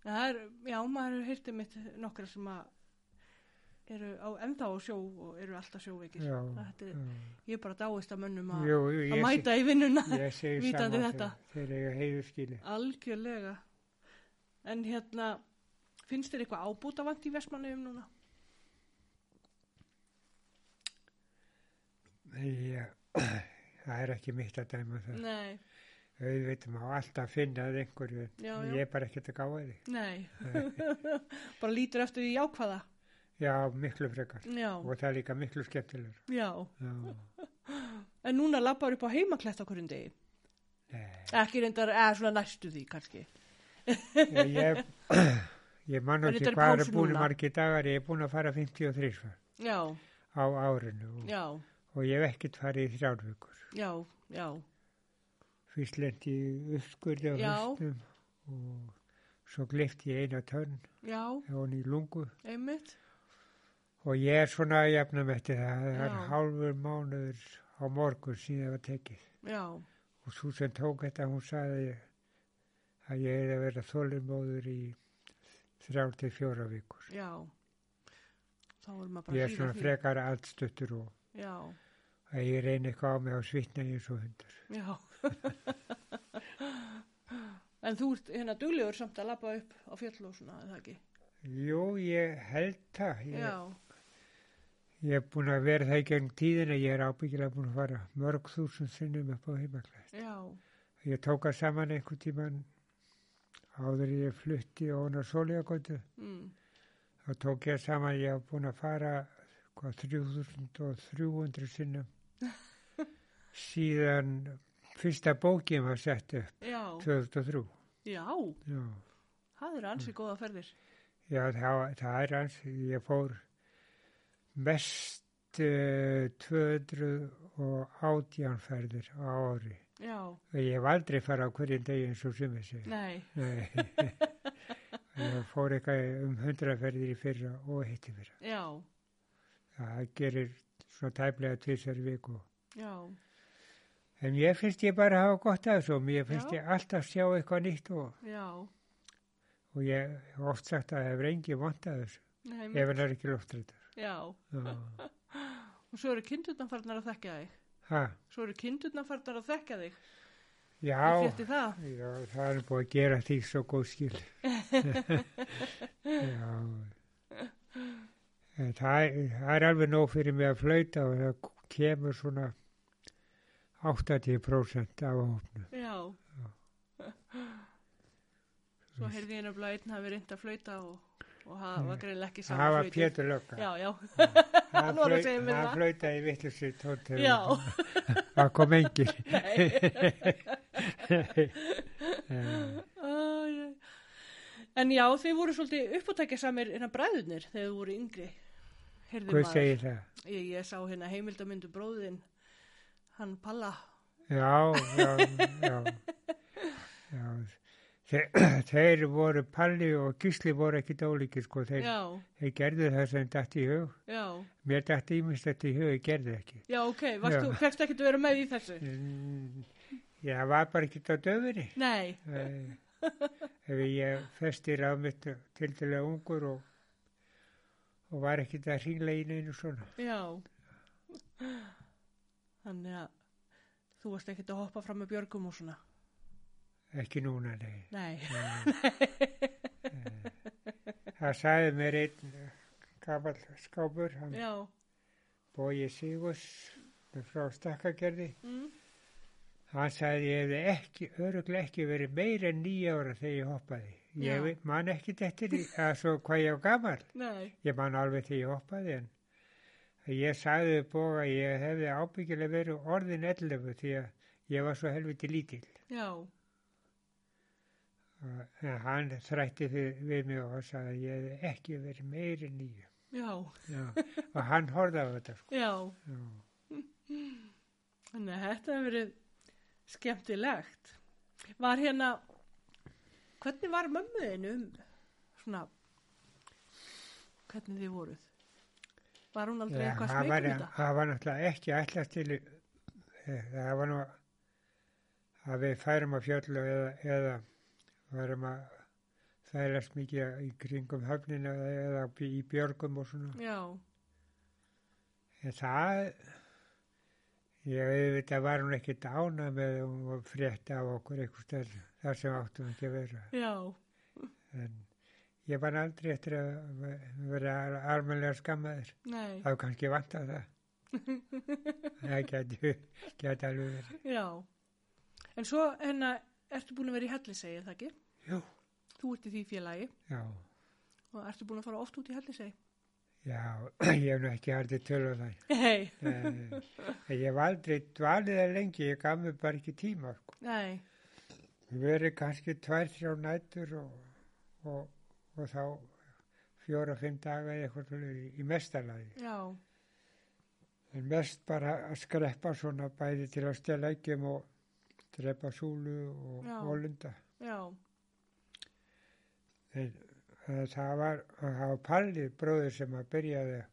Speaker 1: Það er, já, maður hefur heyrtið mitt nokkra sem að eru á, ennþá á sjó og eru alltaf sjóveikir.
Speaker 2: Já,
Speaker 1: Þetta er,
Speaker 2: já.
Speaker 1: ég er bara dáist að mönnum að
Speaker 2: Jú,
Speaker 1: að
Speaker 2: ég,
Speaker 1: mæta í vinnuna.
Speaker 2: se- ég segi
Speaker 1: vitandi
Speaker 2: saman
Speaker 1: þetta.
Speaker 2: þegar ég heiðu skilja.
Speaker 1: Algjörlega. En hérna, finnst þér eitthvað ábútavant í Vestmannaugum núna?
Speaker 2: Ég, það er ekki mitt að dæma það.
Speaker 1: Nei,
Speaker 2: Auðvitað má alltaf finna að einhverju, en
Speaker 1: Já, já.
Speaker 2: ég er bara ekkert að gáða því.
Speaker 1: nei. bara lítur eftir því jákvæða.
Speaker 2: Já, miklu frekar.
Speaker 1: Já,
Speaker 2: Og það er líka miklu skemmtilegur.
Speaker 1: já.
Speaker 2: Já,
Speaker 1: En núna lappar upp á heimaklett okkur um degi.
Speaker 2: nei.
Speaker 1: Ekki reyndar, eða svona næstu því kannski.
Speaker 2: Ég, ég, ég man
Speaker 1: En
Speaker 2: ekki
Speaker 1: þetta er
Speaker 2: hvað
Speaker 1: pásu
Speaker 2: er búin
Speaker 1: núna.
Speaker 2: margir dagar. Ég er búin að fara 53 svar
Speaker 1: Já,
Speaker 2: sko, á árinu og,
Speaker 1: já,
Speaker 2: og ég hef ekkert farið í þrjárvíkur.
Speaker 1: já, já.
Speaker 2: Fyrst lendi ég uppskurði á
Speaker 1: Já.
Speaker 2: höstum og svo glifti ég eina tönn
Speaker 1: Já,
Speaker 2: og hann í lungu
Speaker 1: einmitt.
Speaker 2: og ég er svona að jafna með þetta. Það er
Speaker 1: Já.
Speaker 2: hálfur mánuður á morgun síðan það var tekið.
Speaker 1: Já,
Speaker 2: Og svo sem tók þetta, hún sagði að ég- að ég hefði að vera þolinmóður í þrjár til fjóra vikur.
Speaker 1: já. Þá erum maður bara
Speaker 2: Ég er svona
Speaker 1: því.
Speaker 2: frekar allstuttur og
Speaker 1: Já,
Speaker 2: að ég reyni eitthvað á mig og svitna ég svo hundur.
Speaker 1: já. en þú ert hérna duglegur samt að labba upp á fjöll og svona, er það ekki?
Speaker 2: Jú, ég held það.
Speaker 1: Já,
Speaker 2: Ég, ég er búin að vera það í gegnum tíðina. Ég er ábyggilega búin að fara mörg þúsund sinnum upp á heimaklæð.
Speaker 1: já,
Speaker 2: Ég tók að saman einhvern tíman áður en ég flutti og hún á Sólíagóttu.
Speaker 1: mm.
Speaker 2: Þá tók ég saman, ég hef búin að fara hvað, 3300 sinnum síðan fyrsta bókin var sett upp
Speaker 1: já,
Speaker 2: 2003.
Speaker 1: já,
Speaker 2: Já,
Speaker 1: það eru
Speaker 2: Mm.
Speaker 1: ansið góða ferðir.
Speaker 2: Já það, það er hans, ég fór mest uh, 218 ferðir á ári.
Speaker 1: Já,
Speaker 2: Ég hef aldrei farið á hverjum degi eins og sumið sig.
Speaker 1: nei,
Speaker 2: Nei. ég fór eitthvað um 100 ferðir í fyrra og hitti fyrra.
Speaker 1: já,
Speaker 2: Það gerir svona tæplega tvisar viku.
Speaker 1: já,
Speaker 2: En ég finnst ég bara hafa gott af þessu. Mér finnst
Speaker 1: Já.
Speaker 2: ég alltaf sjá eitthvað nýtt og,
Speaker 1: já,
Speaker 2: og ég hef oft sagt að það hefur engi vant af þessu.
Speaker 1: nei,
Speaker 2: Ef
Speaker 1: einmitt,
Speaker 2: hann er ekki loftrættur.
Speaker 1: Mm. já.
Speaker 2: Já.
Speaker 1: Og svo eru kindurnar farnar að þekka þig.
Speaker 2: Ha,
Speaker 1: Svo eru kindurnar farnar að þekka þig. Ég
Speaker 2: já,
Speaker 1: frétti það.
Speaker 2: já, það er búið að gera því svo góð skil. já. En það, er- það er alveg nóg fyrir mig að flauta og það kemur svona 80% af hópnu.
Speaker 1: Já. Svo heyrði ég nefnilega einn hafi reynd að flauta og, og það var greinlega ekki saman
Speaker 2: Það var Pétur Lökka.
Speaker 1: Já, já,
Speaker 2: hann
Speaker 1: var að
Speaker 2: flaut-
Speaker 1: segja mér það.
Speaker 2: Hann flautaði vittlusi tóntegum.
Speaker 1: já,
Speaker 2: Það kom engin.
Speaker 1: Æ, æ. En já, þeir voru svolítið uppátækja samir innan bræðunir þegar þú voru yngri Heyrði
Speaker 2: Hvað segir það?
Speaker 1: Ég, ég sá hérna heimildamindu bróðin hann Palla
Speaker 2: Já, já, já. já. Þe- Þeir voru Palli og Gísli voru ekki dólíki sko. Þeir,
Speaker 1: Já,
Speaker 2: þeir gerðu það sem dætt í hug.
Speaker 1: já,
Speaker 2: Mér dætt ímyndst þetta í hug, ég gerði ekki.
Speaker 1: já, ok, varstu, fegst ekki að vera með í þessu
Speaker 2: Mm, Ég var bara ekki á döfinni. Eh,
Speaker 1: Nei,
Speaker 2: Ef ég festir á mitt tildulega ungur og, og var ekki að hringla í neinu svona.
Speaker 1: Já. Þannig að þú varst ekkert að hoppa fram með björgum og svona.
Speaker 2: Ekki núna, nei.
Speaker 1: Nei.
Speaker 2: Það sagði mér einn gammal skápur, hann
Speaker 1: Já.
Speaker 2: Bói Sigurs frá stakkagerði.
Speaker 1: Mm.
Speaker 2: Hann sagði ég hefði ekki, öruglega ekki verið meira en nýja ára þegar ég hoppaði.
Speaker 1: Já.
Speaker 2: Ég Já. man ekki eftir því að svo hvað ég var gammal.
Speaker 1: Nei.
Speaker 2: Ég man alveg þegar ég hoppaði en ég sagði við Bóga að ég hefði ábyggilega verið orðin 11 því að ég var svo helviti lítill.
Speaker 1: Já.
Speaker 2: En hann þrætti við, við mig og sagði að ég hefði ekki verið meira en nýja.
Speaker 1: Já.
Speaker 2: Já. og hann horfði á þetta sko.
Speaker 1: Já.
Speaker 2: Já.
Speaker 1: Þannig að þetta hefur verið skemmtilegt. Var hérna, hvernig var mömmuðin um svona, hvernig þið voruð? Var hún aldrei
Speaker 2: Já,
Speaker 1: eitthvað um
Speaker 2: það
Speaker 1: smeykum
Speaker 2: var,
Speaker 1: þetta?
Speaker 2: það var náttúrulega ekki ætlast til eh, það var nú að við færum að fjallu eða, eða varum að þælast mikið í kringum höfnina eða í björgum og svona.
Speaker 1: já,
Speaker 2: En það, ég auðvitað var hún ekki dána með og frétta af okkur einhvers stær þar sem áttum ekki að vera.
Speaker 1: já,
Speaker 2: En ég var aldrei eftir að vera almenlega skammaður.
Speaker 1: nei,
Speaker 2: Það var kannski vant að það. það geti, geti alveg verið.
Speaker 1: já. En svo, hérna, ertu búin að vera í hellisegi, er það ekki?
Speaker 2: Jú.
Speaker 1: Þú ert í því félagi
Speaker 2: Já,
Speaker 1: og ertu búin að fara oft út í hellisegi?
Speaker 2: já, ég hef nú ekki haldið töl á það.
Speaker 1: Nei,
Speaker 2: Eh, ég hef aldrei dvalið það lengi, ég gaf mér bara ekki tíma, sko.
Speaker 1: nei,
Speaker 2: verið kannski tvær, þrjá nætur og, og, og þá fjóra, fimm daga eða eitthvað svoleiðis í- í mestalagi.
Speaker 1: já,
Speaker 2: En mest bara að skreppa svona bæði til að stela eggjum og drepa súlu og
Speaker 1: Já.
Speaker 2: volunda.
Speaker 1: já,
Speaker 2: En eh, það var, það var Palli bróður sem að byrjaði að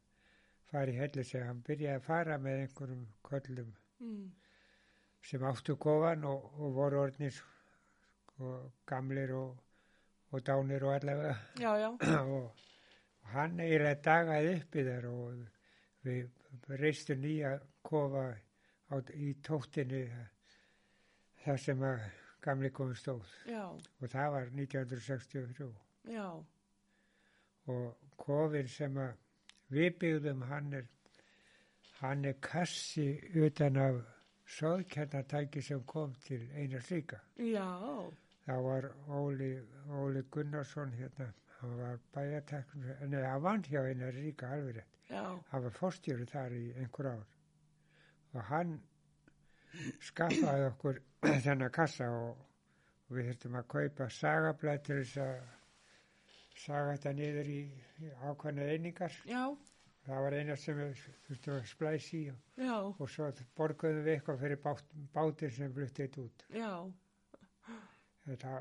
Speaker 2: fara í hellu sig, hann byrjaði að fara með einhverjum köllum
Speaker 1: mm,
Speaker 2: sem áttu kofan og, og voru orðnir sko, gamlir og, og dánir og allavega.
Speaker 1: já, já,
Speaker 2: og og hann eiginlega dagaði uppi þar og við reistum nýja kofa á, í tóttinni þar sem að gamli komið stóð
Speaker 1: já,
Speaker 2: og það var 1963
Speaker 1: já,
Speaker 2: og kofin sem að við byggðum hann er, hann er kassi utan af soðkjarnatæki sem kom til eina slíka.
Speaker 1: já,
Speaker 2: Það var Óli, Óli Gunnarsson hérna, hann var bæjarteknur, nei, hann vann hjá einar ríka alveg rétt.
Speaker 1: já,
Speaker 2: Hann var fórstjóri þar í einhver ár og hann skaffaði okkur þennan kassa og, og við þurftum að kaupa sagablæð til þess að saga þetta niður í, í ákvæmna einingar.
Speaker 1: já,
Speaker 2: Það var eina sem við þurftum að splæsi í og,
Speaker 1: já,
Speaker 2: og svo borguðum við eitthvað fyrir bát, bátinn sem fluttið þetta út.
Speaker 1: já,
Speaker 2: þetta,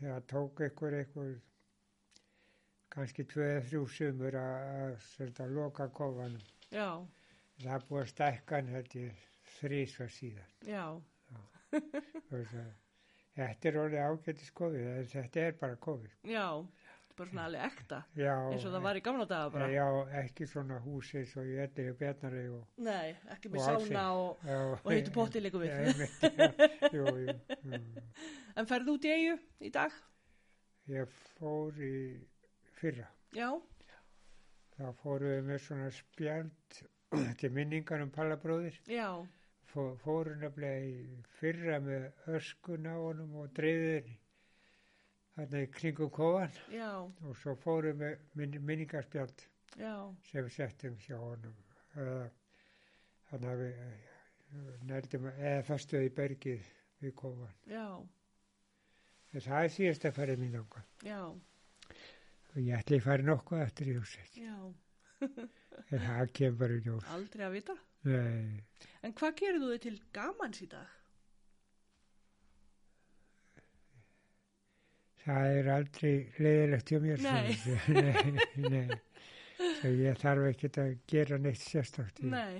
Speaker 2: þetta tók ykkur ykkur kannski tvö eða þrjú sumur að, að sérta, loka kofanum.
Speaker 1: já,
Speaker 2: Það er búið að stækka hann þetta þrísva síðan.
Speaker 1: já,
Speaker 2: Þú veist að Þetta er orðið ágætis kofið, en þetta er bara kofið.
Speaker 1: já, þetta er bara svona alveg ekta
Speaker 2: Já,
Speaker 1: eins og það var í gamla daga bara.
Speaker 2: já, ekki svona húsi eins og ég ætti og bjarnari og...
Speaker 1: Nei, ekki með
Speaker 2: Og
Speaker 1: sána
Speaker 2: Alsi.
Speaker 1: og,
Speaker 2: Já,
Speaker 1: og heitu potti líka við.
Speaker 2: Einmitt, já, jú, jú, jú.
Speaker 1: En ferðu út í eigu í dag?
Speaker 2: Ég fór í fyrra.
Speaker 1: Já,
Speaker 2: Þá fórum við með svona spjald til minningar um pallabróðir.
Speaker 1: já,
Speaker 2: Fó- Fórum nefnilega í fyrra með öskun á honum og dreifðin þarna í kringum kofan
Speaker 1: já,
Speaker 2: og svo fórum við minn, minningarspjald
Speaker 1: já,
Speaker 2: sem við settum hjá honum. Eh, Þannig að við eh, nærðum eða festuð í bergið við kofan.
Speaker 1: já,
Speaker 2: En Það er síðast að fara mín ánga.
Speaker 1: já,
Speaker 2: Ég ætli að fara nokkuð eftir í húsið.
Speaker 1: já,
Speaker 2: En það kemur bara í ljós.
Speaker 1: aldrei að vita.
Speaker 2: Nei.
Speaker 1: En hvað gerir þú þið til gamans í dag?
Speaker 2: Það er aldrei leiðilegt hjá mér.
Speaker 1: Nei.
Speaker 2: svona. nei, nei. Svo ég þarf ekkert að gera neitt sérstakt. í-
Speaker 1: Nei,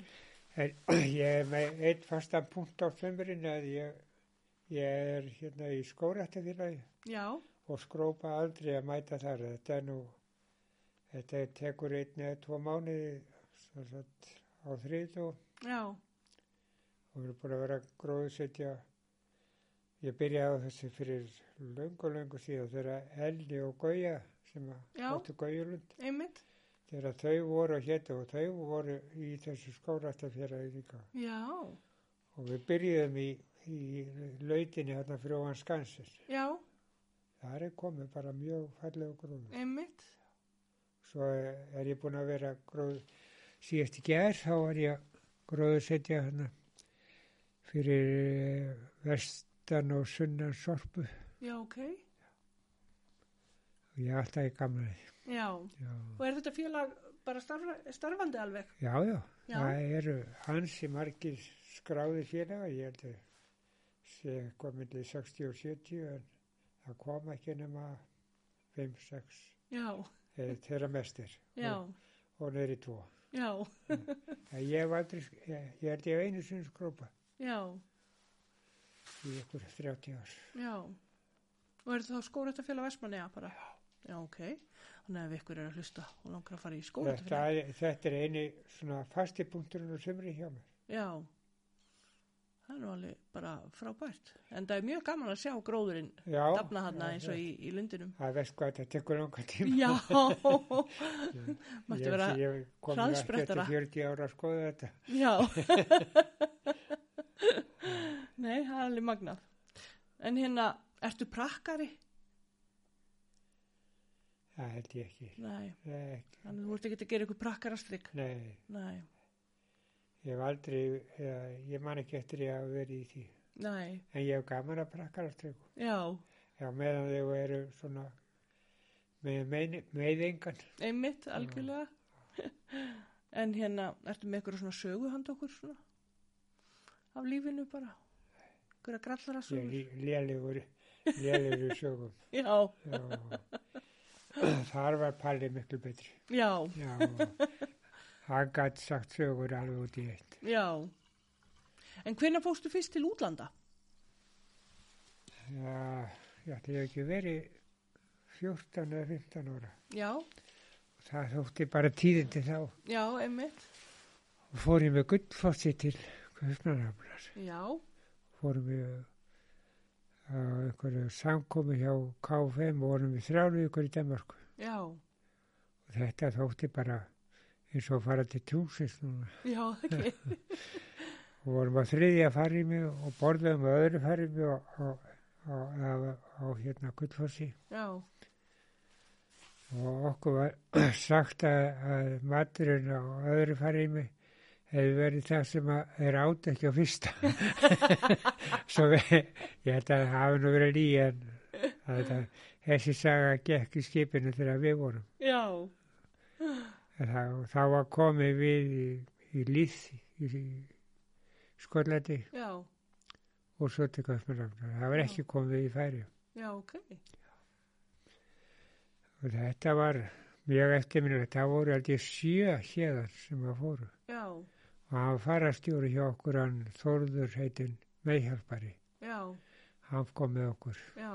Speaker 2: En ég er með einn fastan punkt á sömurinn að ég, ég er hérna í skórættafélagi
Speaker 1: já,
Speaker 2: og skrópa aldrei að mæta þar. Þetta er nú, þetta tekur einn eða tvo mánuði sem sagt, á þrið og
Speaker 1: já,
Speaker 2: við erum búin að vera að gróðsetja. Ég byrjaði á þessu fyrir löngu, löngu síðan þegar Elni og Gauja sem að
Speaker 1: Já.
Speaker 2: áttu Gaujulund
Speaker 1: einmitt,
Speaker 2: þegar þau voru og hétu og þau voru í þessu skóratafjaraði líka
Speaker 1: já,
Speaker 2: og við byrjuðum í, í lautinni hérna fyrir ofan skansir.
Speaker 1: já,
Speaker 2: Það er komið bara mjög fallega gróður.
Speaker 1: einmitt,
Speaker 2: Svo er ég búin að vera gróð síðast í gerð þá var ég að gróðsetja hérna fyrir eh, vestan og sunnan sorpu
Speaker 1: já, ok,
Speaker 2: og ég er alltaf í gamla því.
Speaker 1: já.
Speaker 2: Já,
Speaker 1: Og er þetta félag bara starfa, starfandi alveg?
Speaker 2: já, já.
Speaker 1: Já,
Speaker 2: það eru hansi margir skráði félaga, ég held að sé eitthvað millir 60 og 70 en það kom ekki nema 5, 6
Speaker 1: já,
Speaker 2: eða þeirra mestir
Speaker 1: já,
Speaker 2: og neyri 2.
Speaker 1: já,
Speaker 2: En ég hef aldrei, sk- ég, ég held ég hef einu sinni skrópa
Speaker 1: já,
Speaker 2: í ykkur 30 ár.
Speaker 1: Já. Og er það skórettafélag Vestmanneja bara? Já. Já, ok. Þannig að ef ykkur er að hlusta og langar að fara í
Speaker 2: Þetta,
Speaker 1: skórettafélag.
Speaker 2: þetta er eini svona fasti punkturinn á sumri hjá mér.
Speaker 1: Já. Það er nú alveg bara frábært. En það er mjög gaman að sjá gróðurinn
Speaker 2: Já,
Speaker 1: dafna
Speaker 2: já,
Speaker 1: hana eins og
Speaker 2: já.
Speaker 1: í, í lundinum.
Speaker 2: Það veist hvað þetta tekur langa tíma.
Speaker 1: Já.
Speaker 2: Ég-
Speaker 1: Mættu vera,
Speaker 2: ég kom nú ekkert
Speaker 1: hraðsprettara.
Speaker 2: í 40 ára að skoða þetta.
Speaker 1: já. Nei, það er alveg magnað. En hérna, ertu prakkari?
Speaker 2: Það held ég ekki.
Speaker 1: Nei,
Speaker 2: Nei, ekki.
Speaker 1: þannig að þú ert ekki að gera ykkur prakkarastrygg.
Speaker 2: Nei,
Speaker 1: Nei,
Speaker 2: ég hef aldrei, eða, ég man ekki eftir ég hafa verið í því.
Speaker 1: nei,
Speaker 2: En ég hef gaman að prakka alltaf.
Speaker 1: já,
Speaker 2: Já, meðan þau eru svona með mein- meiðingan.
Speaker 1: einmitt, algjörlega. en hérna, ertu með ykkur svona sögu handa okkur svona? Af lífinu bara? Ykkur að grallara
Speaker 2: Ég
Speaker 1: sögur?
Speaker 2: lí- lélegur, lélegur í sögum.
Speaker 1: Já,
Speaker 2: Já. Þar var Palli miklu betri.
Speaker 1: já,
Speaker 2: Já, hann gætt sagt sögur alveg út í eitt.
Speaker 1: já. En hvenær fórstu fyrst til útlanda?
Speaker 2: Já, ég ætli ég ekki verið 14 eða 15 ára.
Speaker 1: Já,
Speaker 2: Það þótti bara tíðindi þá.
Speaker 1: já, einmitt,
Speaker 2: Fór ég með gullfossi til Kaupmannhafnar.
Speaker 1: já,
Speaker 2: fórum við á einhverju samkomi hjá KFM og vorum við þrjálu ykkur í Danmarku.
Speaker 1: já,
Speaker 2: Og þetta þótti bara eins og að fara til tjúsins núna.
Speaker 1: já, ekki,
Speaker 2: Og vorum á þriðja farimi og borðum á öðru farimi á, á, á, á, á hérna Gullfossi.
Speaker 1: já,
Speaker 2: Og okkur var sagt að, að maturinn á öðru farimi hefði verið það sem að er átt ekki á fyrsta. Svo við, ég held að það hafi nú verið lí en að það, þessi saga gekk í skipinu þegar við vorum.
Speaker 1: já,
Speaker 2: En Það, þá var komið við í, í Lýð í, í Skollandi
Speaker 1: já,
Speaker 2: og svo til Kaupmannafnar. Það var ekki komið í færi.
Speaker 1: já, ok,
Speaker 2: Og þetta var mjög eftirminnilegt. Það voru aldrei sjö hérðar sem að fóru.
Speaker 1: já,
Speaker 2: og hann farastjóri hjá okkur hann Þorður heitinn meðhjálpari
Speaker 1: já,
Speaker 2: hann kom með okkur
Speaker 1: já.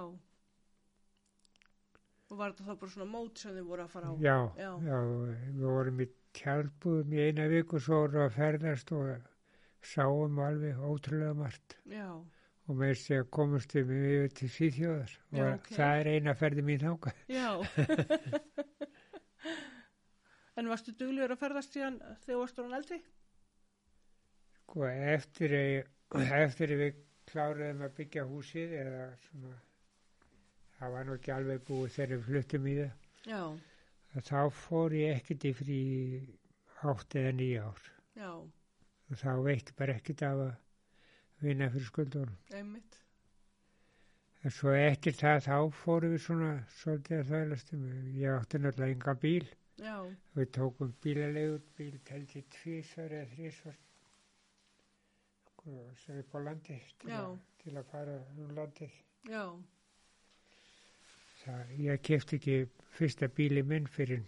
Speaker 1: Og var þetta þá bara svona mót sem þið voru að fara á?
Speaker 2: já,
Speaker 1: Já.
Speaker 2: við vorum í tjálpuðum í eina viku svo vorum við að ferðast og sáum alveg ótrúlega margt
Speaker 1: já,
Speaker 2: og með þess að komumst við mjög yfir til Svíþjóðar og
Speaker 1: Já, ok.
Speaker 2: það er eina ferði mín þáka
Speaker 1: Já. en varstu duglegur að ferðast síðan þegar varstu hann eldri?
Speaker 2: sko eftir að eftir að við kláruðum að byggja húsið eða svona það var nú ekki alveg búið þegar við fluttum í það
Speaker 1: Já,
Speaker 2: að þá fór ég ekkert í frí átt eða nýja ár
Speaker 1: já,
Speaker 2: og þá veitti bara ekkert af að vinna fyrir skuldunum.
Speaker 1: einmitt.
Speaker 2: En svo eftir það þá fórum við svona svolítið að þvælastum. Ég átti náttúrulega engan bíl.
Speaker 1: Já,
Speaker 2: Við tókum bílalegur, bíl teldi tvísvar eða þrísvar sem upp á landi til,
Speaker 1: Já.
Speaker 2: að, til að fara um landið.
Speaker 1: já,
Speaker 2: Það, ég kefti ekki fyrsta bíli minn fyrir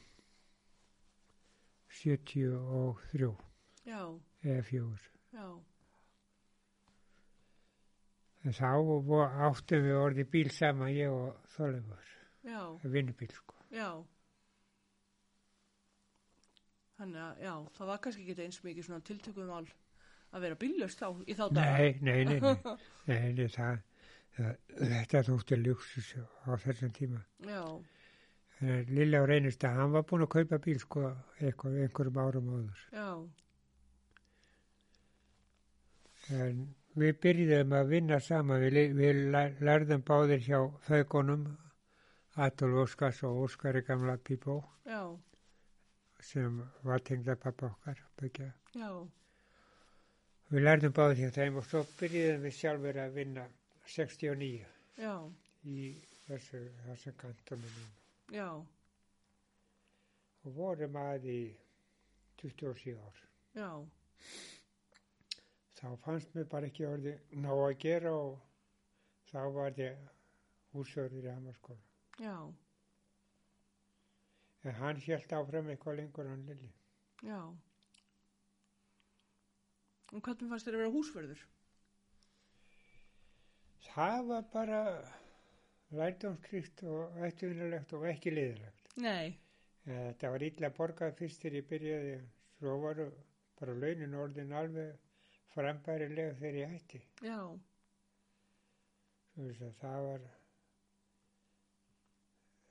Speaker 2: 73
Speaker 1: já,
Speaker 2: eða 4.
Speaker 1: já,
Speaker 2: En þá vo- áttum við orðið bíl saman ég og Þorleifur,
Speaker 1: já,
Speaker 2: vinnubíl sko.
Speaker 1: já. Þannig að, já, það var kannski ekki eins mikið svona tiltökum mál að vera bíllust þá, í þá daga.
Speaker 2: Nei, nei, nei, nei, nei, nei það, það, þetta þótti luksus á þessum tíma.
Speaker 1: Já,
Speaker 2: En Lilla og reynist að hann var búinn að kaupa bíl sko eitthvað, einhverjum árum áður.
Speaker 1: já,
Speaker 2: En við byrjuðum að vinna saman, við, li- við lær- lærðum báðir hjá föðgunum, Adolf Óskars og Óskari gamla Pípó
Speaker 1: já,
Speaker 2: sem var tengda pappa okkar, byggja.
Speaker 1: já,
Speaker 2: Við lærðum báðir hjá þeim og svo byrjuðum við sjálfur að vinna 69
Speaker 1: já,
Speaker 2: í þessu, þessu kantunum.
Speaker 1: já,
Speaker 2: og vorum að í 27 ár.
Speaker 1: já,
Speaker 2: Þá fannst mér bara ekki orði ná að gera og þá var ég húsörður í Hamarskóla.
Speaker 1: já,
Speaker 2: En hann held áfram eitthvað lengur hann Lilli.
Speaker 1: já. Og hvernig fannst þér að vera húsverður?
Speaker 2: það var bara lærdómskrikt og eftirvinnulegt og ekki liðilegt.
Speaker 3: Nei,
Speaker 2: Þetta var illa borgað fyrst þegar ég byrjaði, svo var bara launin orðin alveg frambærilega þegar ég hætti.
Speaker 3: já,
Speaker 2: Þú veist að það var,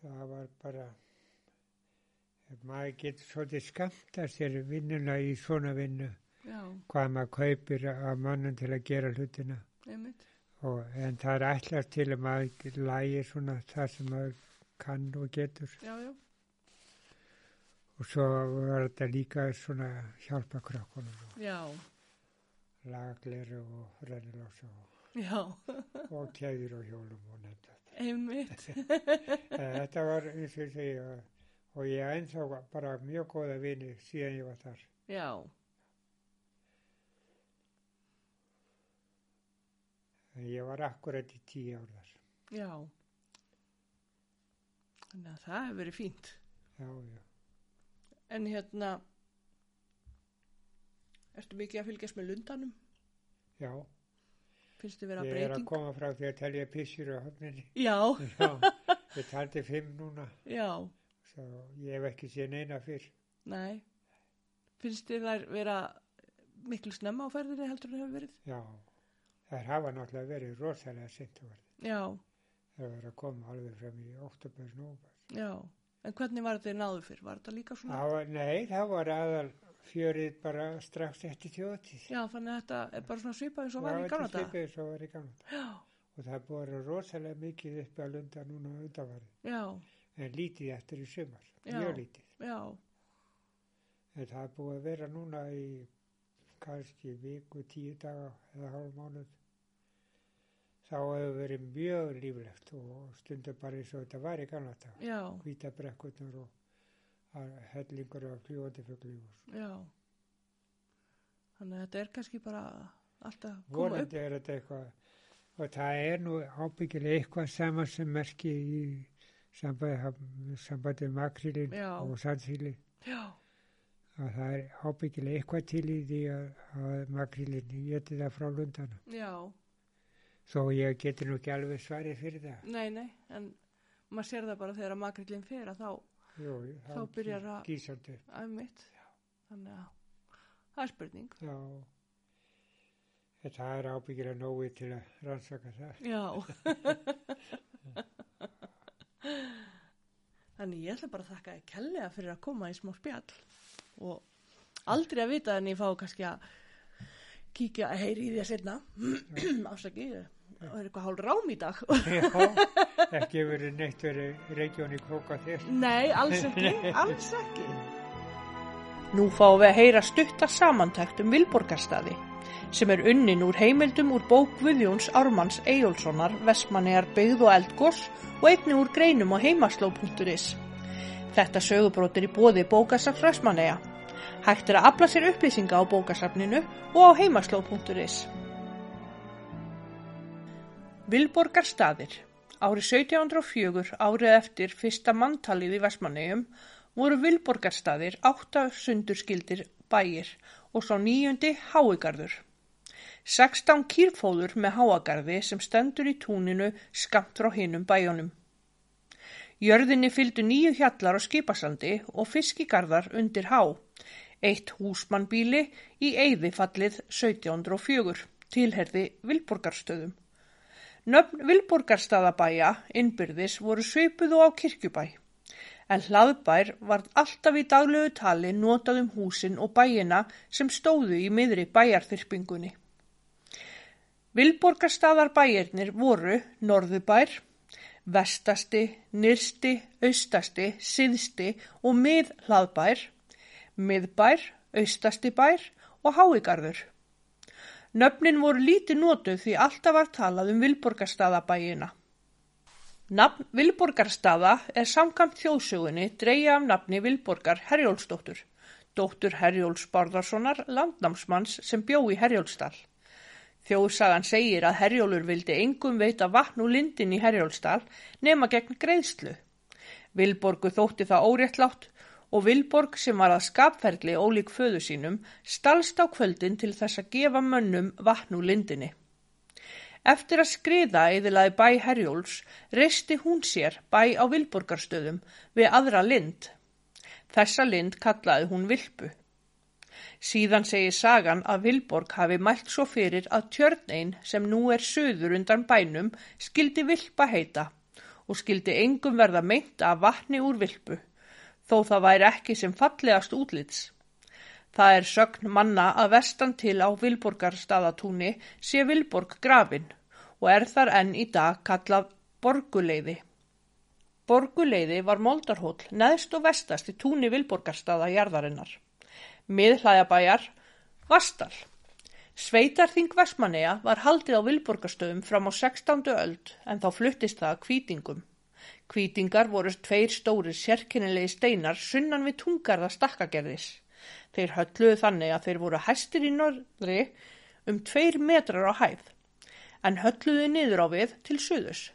Speaker 2: það var bara, ef maður getur svolítið skamta sér vinnuna í svona vinnu,
Speaker 3: já,
Speaker 2: hvað maður kaupir af mannum til að gera hlutina.
Speaker 3: einmitt,
Speaker 2: Og, en það er ætlast til að maður lægi svona það sem maður kann og getur.
Speaker 3: já, já,
Speaker 2: Og svo var þetta líka svona hjálpa krökkunum og
Speaker 3: já,
Speaker 2: laglir og rennilós og,
Speaker 3: já,
Speaker 2: og keður og hjólum og nefnda.
Speaker 3: einmitt,
Speaker 2: Þetta var eins og ég segja og ég á ennþá bara mjög góða vini síðan ég var þar.
Speaker 3: já,
Speaker 2: En ég var akkurat í tíu ár þar.
Speaker 3: já. Þannig að það hefur verið fínt.
Speaker 2: Já, já.
Speaker 3: En hérna, ertu mikið að fylgjast með lundanum?
Speaker 2: Já,
Speaker 3: Finnst þið vera
Speaker 2: ég er að
Speaker 3: breyting?
Speaker 2: koma frá því að telja pissur á höfninni.
Speaker 3: Já,
Speaker 2: Já, ég taldi fimm núna.
Speaker 3: já,
Speaker 2: Svo ég hef ekki séð neina fyrr.
Speaker 3: nei. Finnst þið þær vera miklu snemma á ferðinni heldur en hefur verið?
Speaker 2: Já, þær hafa náttúrulega verið rosalega sintúverð.
Speaker 3: Já,
Speaker 2: Þær verið að koma alveg fram í oktober, nóver.
Speaker 3: já. En hvernig var þetta náðu fyrr? Var þetta líka svona?
Speaker 2: Nei, það var aðal fjörið bara strax eftir þjóðtíð.
Speaker 3: Já, þannig að þetta er bara svona svipað eins og var í gamla daga.
Speaker 2: Svo var í gamla dag.
Speaker 3: Já,
Speaker 2: Og það er búið að vera rosalega mikið upp að lunda núna undanvarið.
Speaker 3: já,
Speaker 2: En lítið eftir í sumar,
Speaker 3: Já.
Speaker 2: mjög lítið.
Speaker 3: já,
Speaker 2: En það er búið að vera núna í kannski viku, tíu daga eða hálf mánuð. Þá hefur verið mjög líflegt og stundum bara eins og þetta var í gamla dag.
Speaker 3: já,
Speaker 2: hvítabrekkurnar og að- hellingur af fljóðandi fuggli og svo.
Speaker 3: já. Þannig að þetta er kannski bara alltaf koma upp.
Speaker 2: Vonandi er þetta eitthvað og það er nú ábyggilega eitthvað sama sem merki í sambandi, sambandi makrílin
Speaker 3: Já.
Speaker 2: og sandsílin
Speaker 3: Já,
Speaker 2: að það er ábyggilega eitthvað til í því að, að makrílin geti það frá lundana.
Speaker 3: já,
Speaker 2: Þó ég geti nú ekki alveg svarið fyrir það.
Speaker 3: nei, nei, en maður sér það bara þegar að makrillin fer að þá
Speaker 2: Jú,
Speaker 3: Þá byrjar að-
Speaker 2: Gísandi.
Speaker 3: Æmitt. Þannig að það er spurning.
Speaker 2: Já. Þetta er ábyggilega nógu til að rannsaka það.
Speaker 3: Já. Þannig ég ætla bara að þakka þér kellega fyrir að koma í smá spjall og aldrei að vita en ég fá kannski að kíkja að heyri í því að setna ásaki og er eitthvað hálf rám í dag
Speaker 2: Já, ekki verið neitt verið regjón í kóka þér.
Speaker 3: Nei, alls ekki, alls ekki
Speaker 1: Nú fáum við að heyra stutta samantækt um Vilborgarstaði sem er unnin úr heimildum úr bók Guðjóns Ármanns Eyjólfssonar Vestmannegar byggð og eldgós og einni úr greinum á heimasló.is. Þetta sögubrót er í bóði bókasafs Vestmanneja. Hægt er að afla sér upplýsinga á bókasafninu og á heimasló.is. Vilborgarstaðir Árið 1704, árið eftir fyrsta manntalið í Vestmannegjum, voru Vilborgarstaðir átta sundurskildir bæir og svo nýjundi háigarður. 16 kýrfóður með háagarði sem stendur í túninu skamt frá hinum bæjónum. Jörðinni fylgdu nýju hjallar á skipasandi og fiskigarðar undir há, eitt húsmannbíli í eyðifallið 1704, tilherði Vilborgarstöðum. Nöfn Vilborgarstaðabæja innbyrðis voru svipuð og á kirkjubæ, en hlaðbær var alltaf í daglegu tali notað um húsin og bæjina sem stóðu í miðri bæjarþyrpingunni. Vilborgarstaðarbæjarnir voru Norðubær, Vestasti, Nyrsti, Austasti, Syðsti og Miðhlaðbær, Miðbær, Austasti bær og Háigarður. Nöfnin voru lítið notuð því alltaf var talað um Vilborgarstaðabæina. Nafn Vilborgarstaða er samkvæmt þjóðsögunni dreyja af nafni Vilborgar Herjólfsdóttur, dóttur Herjóls Bárðarssonar, landnámsmanns sem bjó í Herjólfsdal. Þjóðsagan segir að Herjólfur vildi engum veita vatn úr lindin í Herjólfsdal nema gegn greiðslu. Vilborgu þótti það óréttlátt og Vilborg sem var að skapferli ólík föðu sínum stalst á kvöldin til þess að gefa mönnum vatn úr lindinni. Eftir að skriða eðilaði bæ Herjóls reisti hún sér bæ á Vilborgarstöðum við aðra lind. Þessa lind kallaði hún Vilpu. Síðan segir sagan að Vilborg hafi mælt svo fyrir að tjörnein sem nú er söður undan bænum skildi Vilpa heita og skildi engum verða meint að vatni úr Vilpu þó það væri ekki sem fallegast útlits. Það er sögn manna að vestan til á Vilborgarstaðatúni sé Vilborg grafin og er þar enn í dag kallað Borguleiði. Borguleiði var moldarhól neðst og vestast í túni Vilborgarstaða jarðarinnar. Miðhlaðabæjar, Vastal. Sveitarþing Vesmanea var haldið á Vilborgastöðum fram á 16. öld en þá fluttist það að kvítingum. Kvítingar voru tveir stóri sérkennilegi steinar sunnan við tungarða stakkagerðis. Þeir hölluðu þannig að þeir voru hæstir í norðri um tveir metrar á hæð en hölluðu niður á við til suðus.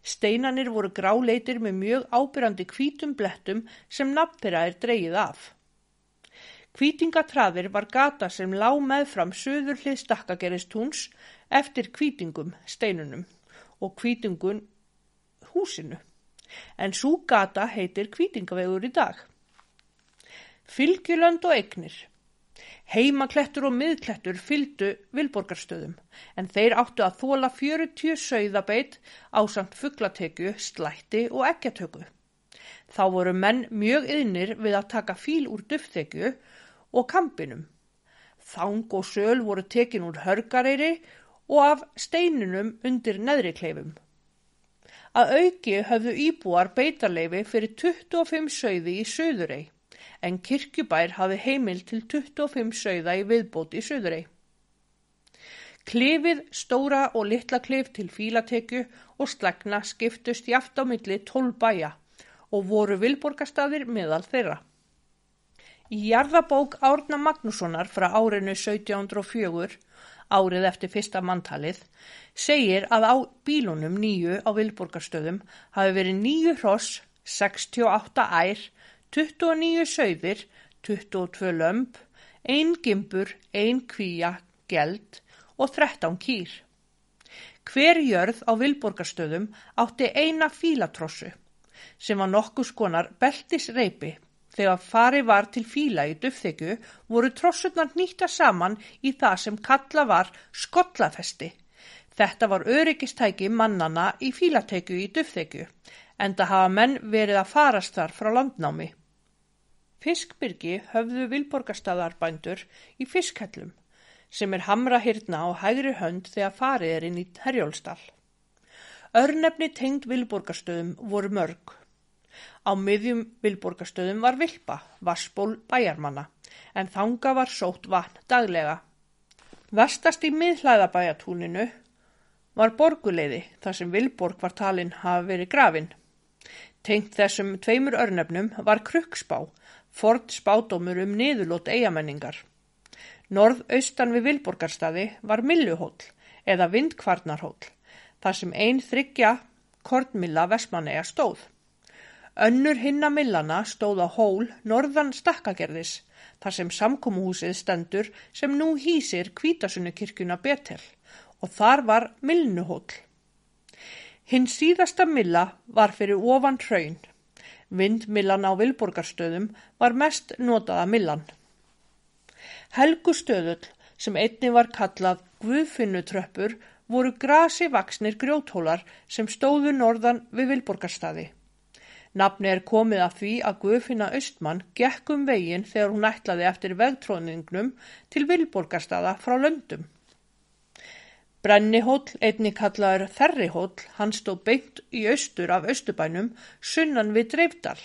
Speaker 1: Steinanir voru gráleitir með mjög ábyrjandi kvítum blettum sem nafn þeirra er dreyið af. Kvítingatraðir var gata sem lá meðfram söður hlið stakkageristúns eftir kvítingum steinunum og kvítingun húsinu. En svo gata heitir kvítingavegur í dag. Fylgjulönd og eignir. Heimaklettur og miðklettur fylgdu vilborgarstöðum en þeir áttu að þóla 40 sögðabeit á samt fugglatekju, slætti og ekkjatöku. Þá voru menn mjög yðnir við að taka fíl úr duftþekju og kampinum. Þang og söl voru tekin úr hörgareyri og af steinunum undir neðrikleifum. Að auki höfðu íbúar beitarleifi fyrir 25 sögði í söðurei, en kirkjubær hafi heimil til 25 sögða í viðbót í söðurei. Klefið, stóra og litla klef til fílatekju og slagna skiptust jáft á milli 12 bæja og voru vilborgastadir meðal þeirra. Í jarðabók Árna Magnússonar frá árinu 1704, árið eftir fyrsta manntalið, segir að á bílunum nýju á vilborgastöðum hafi verið nýju hross, 68 ær, 29 sögðir, 22 lömp, ein gimbur, ein kvíja, geld og 13 kýr. Hver jörð á vilborgastöðum átti eina fílatrossu sem var nokkus konar beltisreipi. Þegar fari var til fíla í dufþekju voru trossurnar nýtta saman í það sem kalla var skollafesti. Þetta var öryggistæki mannana í fílatekju í dufþekju, en það hafa menn verið að farast þar frá landnámi. Fiskbyrgi höfðu vilborgarstaðarbændur í fiskhellum, sem er hamra hirna á hægri hönd þegar farið er inn í herjólstall. Örnefni tengd vilborgastöðum voru mörg. Á miðjum vilborgastöðum var vilpa, vassból bæjarmanna, en þanga var sótt vatn daglega. Vestast í miðhlaðabæjatúninu var borguleiði þar sem vilborg var talinn hafi verið grafin. Tengd þessum tveimur örnefnum var kruksbá, ford spádomur um niðurlót eigamenningar. Norðaustan við vilborgarstaði var milluhóll eða vindkvarnarhóll þar sem einn þryggja kornmilla vesmanega stóð. Önnur hinnamillana stóð á hól norðan stakkagerðis, þar sem samkómuhúsið stendur sem nú hýsir kvítasunukirkuna betel og þar var millnuhól. Hinn síðasta milla var fyrir ofan hraun. Vindmillan á vilborgarstöðum var mest notaða millan. Helgustöðull sem einni var kallað Guðfinnutröppur voru grasi vaksnir grjóthólar sem stóðu norðan við Vilborgarstaði. Nafni er komið að því að Guðfinna Östmann gekk um veginn þegar hún ætlaði eftir vegtróningnum til Vilborgarstaða frá löndum. Brennihóll, einni kallaður Þerrihóll, hann stóð beint í austur af Östubænum sunnan við Dreifdal.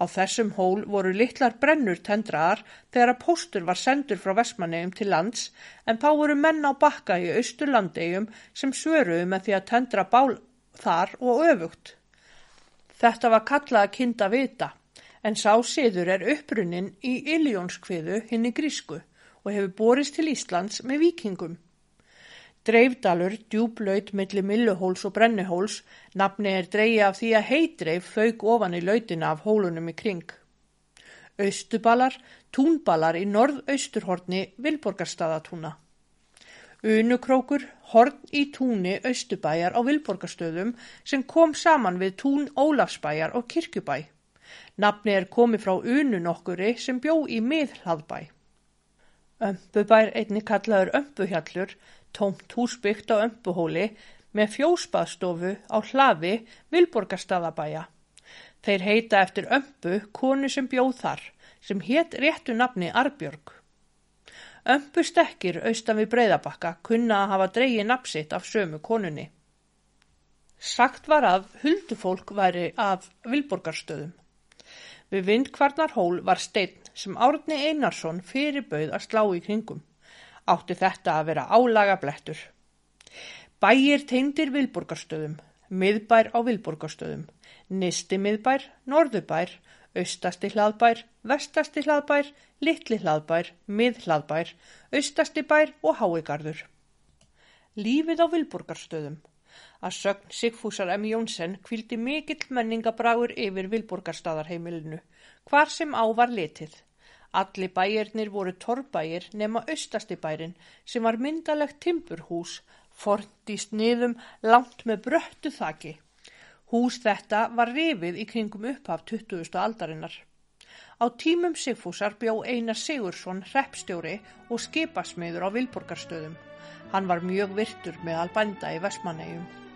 Speaker 1: Á þessum hól voru litlar brennur tendraðar þegar að póstur var sendur frá Vestmannegjum til lands en þá voru menn á bakka í austurlandegjum sem svöruðu með því að tendra bál þar og öfugt. Þetta var kallað að kinda vita en sá siður er upprunnin í Iljónskviðu hinn í grísku og hefur borist til Íslands með vikingum. Dreifdalur, djúblaut millir milluhóls og brennihóls, nafni er dreigi af því að heitreif fauk ofan í lautina af hólunum í kring. Austubalar, túnbalar í norðausturhorni Vilborgarstaðatúna. Unukrókur, horn í túni Östubæjar á Vilborgastöðum sem kom saman við tún Ólafsbæjar og Kirkjubæ. Nafni er komið frá Unu nokkuri sem bjó í miðhlaðbæ. Ömbubær einni kallaður Ömbuhjallur, tómt húsbyggt á Ömbuhóli með fjósbaðstofu á hlafi Vilborgastaðabæja. Þeir heita eftir Ömbu konu sem bjóð þar sem hétt réttu nafni Arbjörg. Ömbu stekkir austan við breyðabakka kunna að hafa dreyið napsitt af sömu konunni. Sagt var að huldufólk væri af Vilborgarstöðum. Við vindkvarnarhól var steinn sem Árni Einarsson fyrirbauð að slá í kringum. Átti þetta að vera álaga blettur. Bæir teyndir Vilborgarstöðum, miðbær á Vilborgarstöðum, nisti miðbær, norðubær, austasti hlaðbær, vestasti hlaðbær, litli hlaðbær, mið hlaðbær, austasti bær og háigarður. Lífið á Vilborgarstöðum. Að sögn Sigfúsar M. Jónsson kvildi mikill menningabráur yfir Vilborgarstadarheimilinu, hvar sem á var letið. Allir bæirnir voru torrbæir nema austasti bærin sem var myndalegt timburhús, fornt í sniðum langt með bröttu þaki. Hús þetta var rifið í kringum upphaf 20. aldarinnar. Á tímum Sigfúsar bjó Einar Sigursson hreppstjóri og skipasmiður á Vilborgarstöðum. Hann var mjög virtur með albænda í Vestmannegjum.